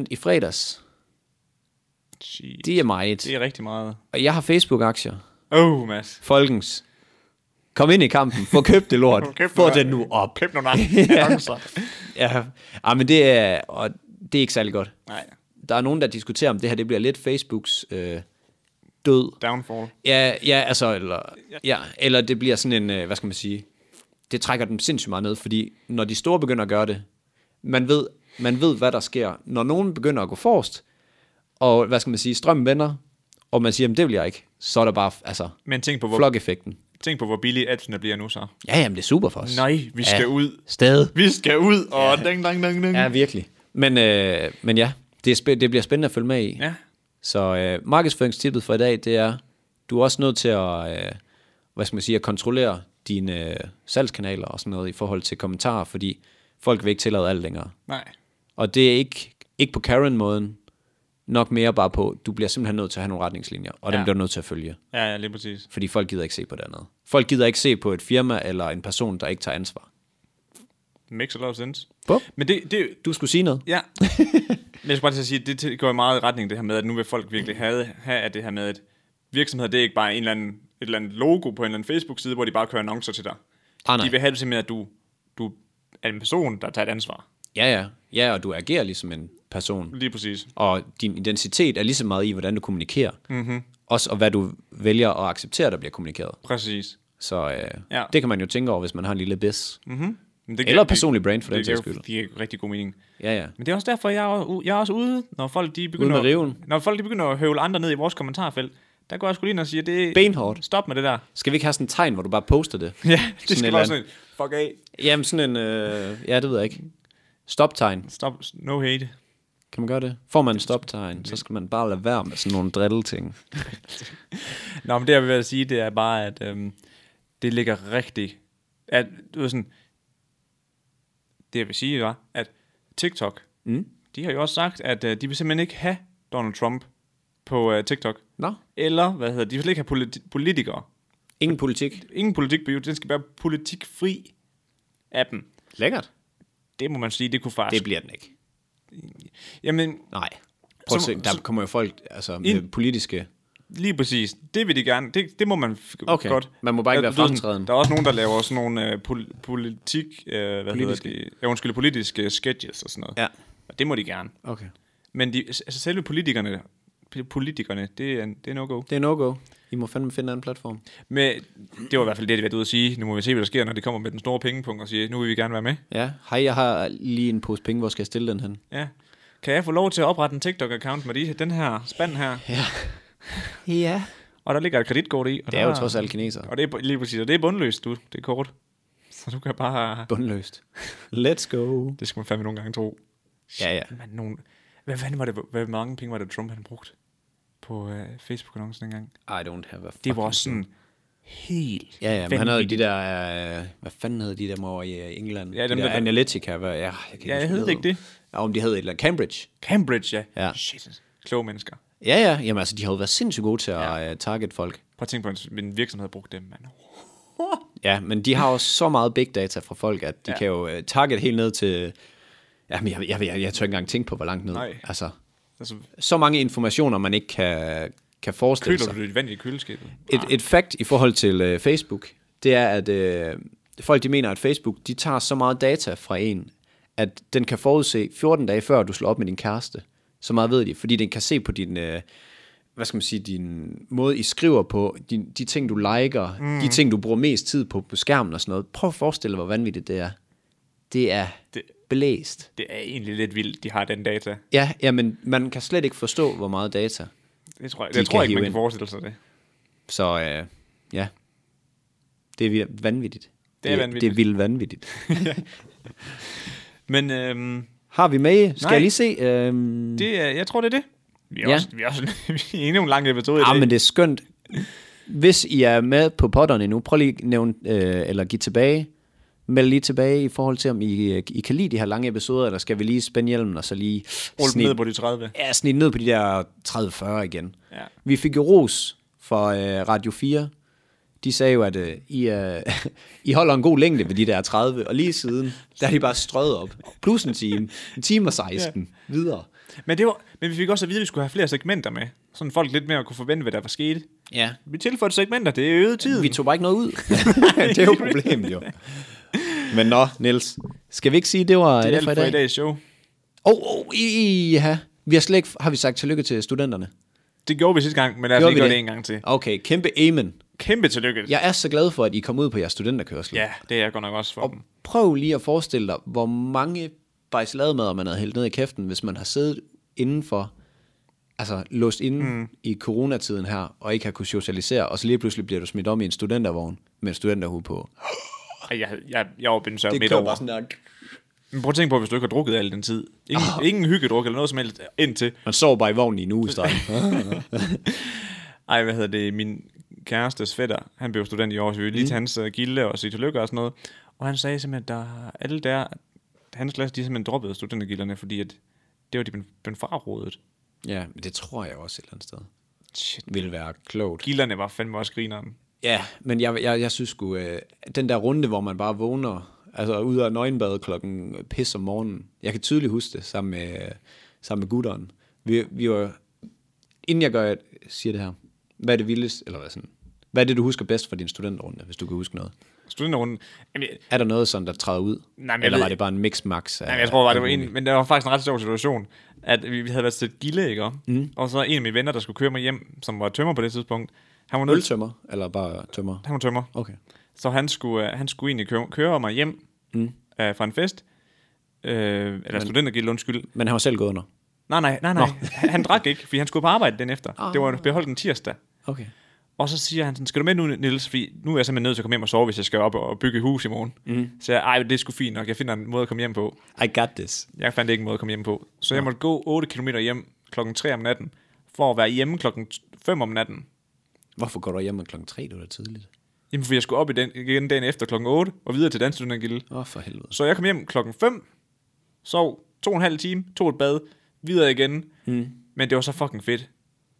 Speaker 2: 8% i fredags.
Speaker 1: Shit.
Speaker 2: Det er meget.
Speaker 1: Det er rigtig meget.
Speaker 2: Og jeg har Facebook-aktier.
Speaker 1: Oh, Mads.
Speaker 2: Folkens, kom ind i kampen. Få købt det lort.
Speaker 1: Køb
Speaker 2: Få
Speaker 1: noget-
Speaker 2: det nu op.
Speaker 1: Køb nogle annoncer.
Speaker 2: Ja, ja men det er, og det er ikke særlig godt.
Speaker 1: Nej,
Speaker 2: Der er nogen, der diskuterer, om det her det bliver lidt Facebooks øh, død.
Speaker 1: downfall.
Speaker 2: Ja, ja, altså, eller, ja, eller det bliver sådan en, øh, hvad skal man sige, det trækker dem sindssygt meget ned, fordi når de store begynder at gøre det, man ved, man ved hvad der sker. Når nogen begynder at gå forrest, og hvad skal man sige, strømmen vender, og man siger, jamen det vil jeg ikke, så er der bare, altså,
Speaker 1: Men tænk på, hvor,
Speaker 2: flok-effekten.
Speaker 1: tænk på, hvor billige adsene bliver nu så.
Speaker 2: Ja, jamen det er super for os.
Speaker 1: Nej, vi skal ud.
Speaker 2: Stadig.
Speaker 1: Vi skal ud, og ding, ding, ding, ding.
Speaker 2: Ja, virkelig. Men, øh, men ja, det, er spæ- det bliver spændende at følge med i.
Speaker 1: ja.
Speaker 2: Så øh, markedsføringstippet for i dag, det er, du er også nødt til at, øh, hvad skal man sige, at kontrollere dine øh, salgskanaler og sådan noget i forhold til kommentarer, fordi folk vil ikke tillade alt længere.
Speaker 1: Nej.
Speaker 2: Og det er ikke, ikke på Karen-måden, nok mere bare på, du bliver simpelthen nødt til at have nogle retningslinjer, og ja.
Speaker 1: Ja.
Speaker 2: dem bliver du nødt til at følge,
Speaker 1: Ja, ja, lige præcis.
Speaker 2: fordi folk gider ikke se på det andet. Folk gider ikke se på et firma eller en person, der ikke tager ansvar.
Speaker 1: Makes a lot of sense.
Speaker 2: Bup.
Speaker 1: Men det, det,
Speaker 2: Du skulle sige noget.
Speaker 1: Ja. Men jeg skal bare til at sige, at det til- går i meget i retning det her med, at nu vil folk virkelig have, have at det her med, at virksomheder, det er ikke bare en eller anden, et eller andet logo på en eller anden Facebook-side, hvor de bare kører annoncer til dig.
Speaker 2: Ah, nej.
Speaker 1: de vil have det simpelthen, at du, du er en person, der tager et ansvar.
Speaker 2: Ja, ja. Ja, og du agerer ligesom en person.
Speaker 1: Lige præcis.
Speaker 2: Og din identitet er lige så meget i, hvordan du kommunikerer. Mm-hmm. Også og hvad du vælger at acceptere, der bliver kommunikeret.
Speaker 1: Præcis.
Speaker 2: Så øh,
Speaker 1: Ja.
Speaker 2: ja. det kan man jo tænke over, hvis man har en lille bis. Mm-hmm.
Speaker 1: Men det
Speaker 2: Eller
Speaker 1: det-
Speaker 2: personlig brand, for den
Speaker 1: det
Speaker 2: sags
Speaker 1: giver-
Speaker 2: skyld.
Speaker 1: Det giver rigtig god mening.
Speaker 2: Ja, ja.
Speaker 1: Men det er også derfor, jeg er, u- jeg er også ude, når folk de
Speaker 2: Ude
Speaker 1: begynder,
Speaker 2: med riven.
Speaker 1: når folk de begynder at høvle andre ned i vores kommentarfelt. Der går jeg sgu lige ind og siger, det
Speaker 2: Benhårdt.
Speaker 1: Stop med det der.
Speaker 2: Skal vi ikke have sådan et tegn, hvor du bare poster det?
Speaker 1: Ja, det
Speaker 2: et
Speaker 1: skal
Speaker 2: eller
Speaker 1: være
Speaker 2: andet.
Speaker 1: sådan, et, fuck af.
Speaker 2: Jamen sådan en... Øh, ja, det ved jeg ikke. Stoptegn.
Speaker 1: Stop, no hate.
Speaker 2: Kan man gøre det? Får man en stoptegn, så skal man bare lade være med sådan nogle drilleting.
Speaker 1: Nå, men det jeg vil sige, det er bare, at øhm, det ligger rigtig... At, du ved sådan, det jeg vil sige var, at TikTok,
Speaker 2: Mm.
Speaker 1: de har jo også sagt, at øh, de vil simpelthen ikke have Donald Trump på øh, TikTok.
Speaker 2: Nå,
Speaker 1: Eller, hvad hedder det, de vil slet ikke have politi- politikere.
Speaker 2: ingen politik.
Speaker 1: Ingen politik på YouTube, den skal være politikfri af dem.
Speaker 2: Lækkert.
Speaker 1: Det må man sige, det kunne faktisk... Det...
Speaker 2: Det bliver den ikke.
Speaker 1: Jamen,
Speaker 2: Nej. Prøv at
Speaker 1: Så-
Speaker 2: se, der
Speaker 1: så-
Speaker 2: kommer jo folk altså, med politiske...
Speaker 1: Lige præcis. Det vil de gerne. Det, det må man f-
Speaker 2: Okay.
Speaker 1: godt.
Speaker 2: Man må bare ikke
Speaker 1: Ja,
Speaker 2: være
Speaker 1: du ved sådan,
Speaker 2: fremtrædende.
Speaker 1: Der er også nogen, der laver sådan nogle øh, pol- politik... Øh, hvad
Speaker 2: Politiske.
Speaker 1: politiske. hedder det? Ja, undskyld, politiske sketches og sådan noget.
Speaker 2: Ja.
Speaker 1: Og det må de gerne.
Speaker 2: Okay.
Speaker 1: Men de, altså selve politikerne, politikerne, det er, det er no-go.
Speaker 2: Det er no-go. I må fandme finde en anden platform.
Speaker 1: Men det var i hvert fald det, de var ude at sige. Nu må vi se, hvad der sker, når de kommer med den store pengepunkt og siger, nu vil vi gerne være med.
Speaker 2: Ja, hej, jeg har lige en pose penge. Hvor skal jeg stille den hen?
Speaker 1: Ja. Kan jeg få lov til at oprette en TikTok-account med de, den her spand her?
Speaker 2: Ja. ja.
Speaker 1: Og der ligger et kreditkort i. Og
Speaker 2: Det er jo
Speaker 1: der,
Speaker 2: trods alt kineser.
Speaker 1: Og det er bu- lige præcis, og det er bundløst, du. Det er kort. Så du kan bare...
Speaker 2: Bundløst. Let's go.
Speaker 1: Det skal man fandme nogle gange tro.
Speaker 2: Ja, ja.
Speaker 1: Man, nogen... Hvad fanden var det? Hvor mange penge var det, Trump han brugt på øh, Facebook-annoncen dengang?
Speaker 2: I don't have a
Speaker 1: Det var
Speaker 2: fucking
Speaker 1: også sådan helt
Speaker 2: Ja, ja, men han havde jo
Speaker 1: vanvittigt.
Speaker 2: de der, øh, hvad fanden hed de der over i øh, England?
Speaker 1: Ja,
Speaker 2: de
Speaker 1: dem,
Speaker 2: der,
Speaker 1: der-
Speaker 2: Analytica, hvad, ja, jeg kan ikke
Speaker 1: Ja,
Speaker 2: huske,
Speaker 1: jeg
Speaker 2: hvad
Speaker 1: hed ikke det.
Speaker 2: Ja, om de hed et eller andet. Cambridge.
Speaker 1: Cambridge, ja.
Speaker 2: Ja.
Speaker 1: Shit. Kloge mennesker.
Speaker 2: Ja, ja, jamen altså, de har jo været sindssygt gode til at ja. target folk.
Speaker 1: Prøv at tænke på, at en virksomhed havde brugt dem, mand.
Speaker 2: Ja, men de har jo så meget big data fra folk, at de ja.
Speaker 1: Ja.
Speaker 2: kan jo øh, target helt ned til, jamen jeg, jeg, jeg, jeg tør ikke engang tænke på, hvor langt ned.
Speaker 1: Nej.
Speaker 2: Altså,
Speaker 1: Altså,
Speaker 2: så mange informationer, man ikke kan, kan forestille
Speaker 1: køler
Speaker 2: sig.
Speaker 1: du det vand i køleskabet?
Speaker 2: Et, et fact i forhold til øh, Facebook, det er, at øh, folk de mener, at Facebook de tager så meget data fra en, at den kan forudse 14 dage før, du slår op med din kæreste. Så meget ved de, fordi den kan se på din, øh, hvad skal man sige, din måde, I skriver på, din, de ting, du liker, mm. de ting, du bruger mest tid på på skærmen og sådan noget. Prøv at forestille dig, hvor vanvittigt det er. Det er det.
Speaker 1: Det-
Speaker 2: blæst.
Speaker 1: Det er egentlig lidt vildt, de har den data.
Speaker 2: Ja, jamen, man kan slet ikke forstå, hvor meget data.
Speaker 1: Det tror jeg,
Speaker 2: De
Speaker 1: jeg tror
Speaker 2: kan
Speaker 1: ikke,
Speaker 2: hive
Speaker 1: man kan
Speaker 2: ind.
Speaker 1: forestille sig det.
Speaker 2: Så øh, ja, det er vildt vanvittigt.
Speaker 1: Det er
Speaker 2: Det
Speaker 1: vanvittigt.
Speaker 2: er vildt vanvittigt.
Speaker 1: Men øhm,
Speaker 2: Har vi med? Skal
Speaker 1: Nej.
Speaker 2: jeg lige se? Øhm, det,
Speaker 1: det er, jeg tror, det er det. Vi er, ja.
Speaker 2: Ja.
Speaker 1: også, vi er, også, vi er endnu en lang episode i dag.
Speaker 2: ah, men det er skønt. Hvis I er med på potterne nu, prøv lige at nævne, øh, eller give tilbage. Meld lige tilbage i forhold til, om I, øh, I kan lide de her lange episoder, eller skal vi lige spænde hjelmen og så lige
Speaker 1: Rulle dem
Speaker 2: snit-
Speaker 1: ned på de 30.
Speaker 2: ja, snit ned på de der 30-40 igen.
Speaker 1: Ja.
Speaker 2: Vi fik jo ros fra øh, Radio 4. De sagde jo, at øh, I, øh, I holder en god længde ved de der 30, og lige siden, der er de bare strøget op. Plus en time. En time og 16. Ja. Videre.
Speaker 1: Men, det var, men vi fik også at vide, at vi skulle have flere segmenter med. Sådan folk lidt mere kunne forvente, hvad der var sket.
Speaker 2: Ja.
Speaker 1: Vi tilføjede segmenter, det er øget tid.
Speaker 2: Vi tog bare ikke noget ud. det er jo problemet jo. Men nå, Niels. Skal vi ikke sige, det var det,
Speaker 1: det er
Speaker 2: det for i
Speaker 1: alt for i
Speaker 2: dag?
Speaker 1: dags show.
Speaker 2: Åh, oh, oh, i- i- ja. Vi har slet ikke, har vi sagt tillykke til studenterne?
Speaker 1: Det gjorde vi sidste gang, men lad os
Speaker 2: Gjorde
Speaker 1: lige gøre
Speaker 2: vi det?
Speaker 1: det en gang til.
Speaker 2: Okay, kæmpe amen.
Speaker 1: Kæmpe tillykke. Ja,
Speaker 2: Jeg er så glad for, at I kom ud på jeres studenterkørsel.
Speaker 1: ja det er jeg godt nok også for dem.
Speaker 2: Prøv lige at forestille dig, hvor mange bajslademader man havde hældt ned i kæften, hvis man har siddet indenfor, altså låst inde mm. i coronatiden her, og ikke har kunnet socialisere, og så lige pludselig bliver du smidt om i en studentervogn med en studenterhue på.
Speaker 1: Ej, Jeg, jeg, jeg var blevet sørget midt
Speaker 2: kører
Speaker 1: over.
Speaker 2: sådan der.
Speaker 1: Men prøv at tænke på, hvis du ikke har drukket al den tid. Ingen, oh. ingen hyggedruk eller noget som helst indtil.
Speaker 2: Man sover bare i vognen i en uge i streg.
Speaker 1: Ej, hvad hedder det? Min kærestes fætter, han blev student i år, så vi ville lige til hans øh, gilde og sige tillykke og sådan noget. Og han sagde simpelthen, at der, alle der, hans klasse, de simpelthen droppede studentergilderne, fordi at det var de blevet- blevet frarådet.
Speaker 2: ja, men det tror jeg også et eller andet sted.
Speaker 1: Shit.
Speaker 2: Vil være klogt.
Speaker 1: Gilderne var fandme også grineren.
Speaker 2: Ja, men jeg, jeg, jeg synes sgu, øh, den der runde, hvor man bare vågner, altså ud af nøgenbadet klokken pis om morgenen, jeg kan tydeligt huske det, sammen med, øh, sammen med gutteren. Vi, vi var, inden jeg gør, siger det her, hvad er det vildeste, eller hvad sådan, hvad er det, du husker bedst fra din studenterrunde, hvis du kan huske noget?
Speaker 1: Studenterrunden, jamen, jeg,
Speaker 2: Er der noget sådan, der træder ud?
Speaker 1: Nej, men jeg
Speaker 2: eller
Speaker 1: ved-
Speaker 2: var det bare en mix max?
Speaker 1: jamen, jeg tror bare, det var en, men det var faktisk en ret sjov situation, at vi vi havde været til et gilde, ikke? Mm. Og så en af mine venner, der skulle køre mig hjem, som var tømmer på det tidspunkt, han var nødt
Speaker 2: Øltømmer, eller bare tømmer?
Speaker 1: han var tømmer.
Speaker 2: Okay.
Speaker 1: Så han skulle, øh, han skulle egentlig køre, køre mig hjem. Mm. øh, fra en fest. Øh, eller studentergilde, undskyld.
Speaker 2: Men han var selv gået under.
Speaker 1: Nej, nej, nej, nej. Han, han drak ikke, fordi han skulle på arbejde den efter. Oh. Det var beholdt en tirsdag.
Speaker 2: Okay.
Speaker 1: Og så siger han sådan, skal du med nu, Niels? Fordi nu er jeg simpelthen nødt til at komme hjem og sove, hvis jeg skal op og bygge et hus i morgen. Mm. Så jeg, ej, det er sgu fint nok. Jeg finder en måde at komme hjem på.
Speaker 2: I got this.
Speaker 1: Jeg fandt ikke en måde at komme hjem på. Så jeg måtte gå 8 km hjem klokken 3 om natten, for at være hjemme klokken 5 om natten.
Speaker 2: Hvorfor går du hjem klokken 3, det var da tidligt?
Speaker 1: Jamen, fordi jeg skulle op i den, igen dagen efter klokken 8, og videre til Dansstudentergilde.
Speaker 2: Åh, oh, for helvede.
Speaker 1: Så jeg kom hjem klokken 5, sov to og en halv time, tog et bad, videre igen. Mm. Men det var så fucking fedt,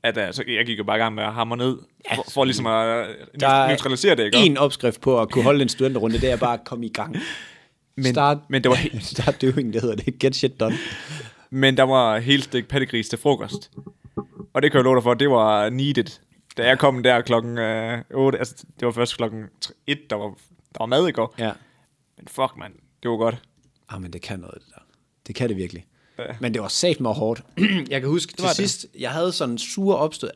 Speaker 1: at altså, jeg gik jo bare i gang med at hamre ned, ja, for, for ligesom at
Speaker 2: Der er
Speaker 1: der neutralisere det, ikke?
Speaker 2: En opskrift på at kunne holde en studenterrunde, det er bare at komme i gang.
Speaker 1: Men-
Speaker 2: start,
Speaker 1: men det var
Speaker 2: start doing, det hedder det. Get shit done.
Speaker 1: Men der var helt stik pattegris til frokost. Og det kan jeg love dig for, det var needed. Da jeg kom der klokken øh, 8, altså det var først klokken 1, der var, der var mad i går.
Speaker 2: Ja.
Speaker 1: Men fuck, mand, det var godt.
Speaker 2: Ah, men det kan noget, det der. Det kan det virkelig. Ja. Men det var sat mig hårdt. jeg kan huske, til
Speaker 1: var det.
Speaker 2: sidst, jeg havde sådan en sure opstød.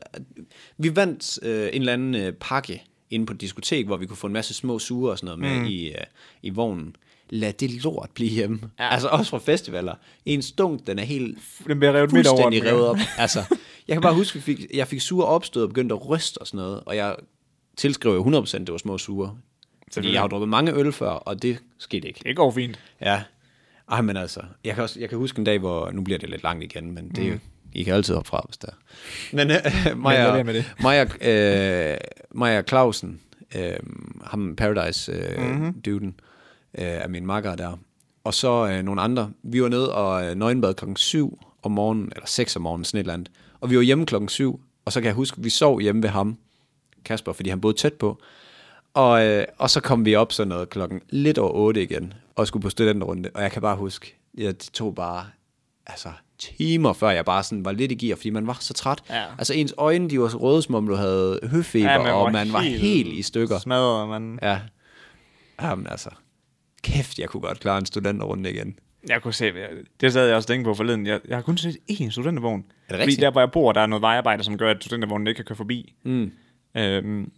Speaker 2: Vi vandt øh, en eller anden øh, pakke inde på et diskotek, hvor vi kunne få en masse små sure og sådan noget med mm. i, øh, i vognen. Lad det lort blive hjemme. Ja. Altså også fra festivaler. En stunk, den er helt
Speaker 1: Den bliver revet midt over.
Speaker 2: fuldstændig revet op. Altså, jeg kan bare huske, at jeg fik, jeg fik sure opstød og begyndte at ryste og sådan noget, og jeg tilskrev jo 100% det var små sure. Fordi jeg har jo drukket mange øl før, og det skete ikke.
Speaker 1: Det går fint.
Speaker 2: Ja. Ej, men altså, jeg kan, også, jeg kan huske en dag, hvor, nu bliver det lidt langt igen, men det er jo, I kan altid hoppe fra, hvis der. Mm. Men øh,
Speaker 1: lad
Speaker 2: Maja,
Speaker 1: være med det.
Speaker 2: Maja, øh, Maja Clausen, øh, ham Paradise øh, mm-hmm. duden, øh, er min makker der. Og så øh, nogle andre. Vi var nede og øh, nøgenbad klokken 7 om morgenen, eller 6 om morgenen, sådan et eller andet. Og vi var hjemme klokken 7, og så kan jeg huske, vi sov hjemme ved ham, Kasper, fordi han boede tæt på. Og, øh, og så kom vi op sådan noget klokken lidt over 8 igen, og skulle på studenterrunde, og jeg kan bare huske, jeg tog bare altså, timer, før jeg bare sådan var lidt i gear, fordi man var så træt.
Speaker 1: Ja.
Speaker 2: Altså ens øjne, de var så røde, som om du havde høfeber, ja, og man var helt, helt i stykker.
Speaker 1: Smadret, man.
Speaker 2: Ja. Jamen altså, kæft, jeg kunne godt klare en studenterrunde igen.
Speaker 1: Jeg kunne se, jeg- det sad jeg også og tænkte på forleden. Jeg, jeg har kun set én studentervogn.
Speaker 2: det
Speaker 1: fordi
Speaker 2: rigtigt?
Speaker 1: der, hvor jeg bor, der er noget vejarbejde, som gør, at studentervognen ikke kan køre forbi. Mm. Øhm,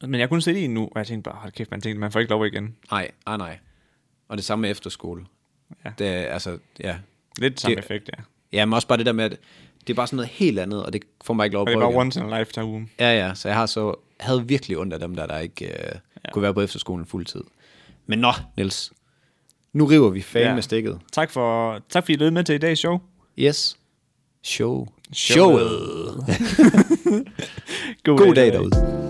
Speaker 1: men jeg har kun set én nu, og jeg tænkte bare, hold kæft, man tænkte, man får ikke lov igen.
Speaker 2: Nej, nej, nej. Og det samme med efterskole.
Speaker 1: Ja.
Speaker 2: Det, er, altså, ja.
Speaker 1: Lidt samme
Speaker 2: Det-
Speaker 1: effekt, ja.
Speaker 2: ja, men også bare det der med, at det er bare sådan noget helt andet, og det får man ikke lov at
Speaker 1: Og det er
Speaker 2: prøve
Speaker 1: bare
Speaker 2: igen.
Speaker 1: once in a lifetime.
Speaker 2: Ja, ja, så jeg har så, havde virkelig ondt af dem der, der ikke øh, ja. kunne være på efterskolen fuldtid. Men nå, Niels, nu river vi fame ja.
Speaker 1: Ja.
Speaker 2: med stikket.
Speaker 1: Tak, for, tak fordi I lød med til i dags show.
Speaker 2: Yes. Show.
Speaker 1: Showet.
Speaker 2: God dag derude.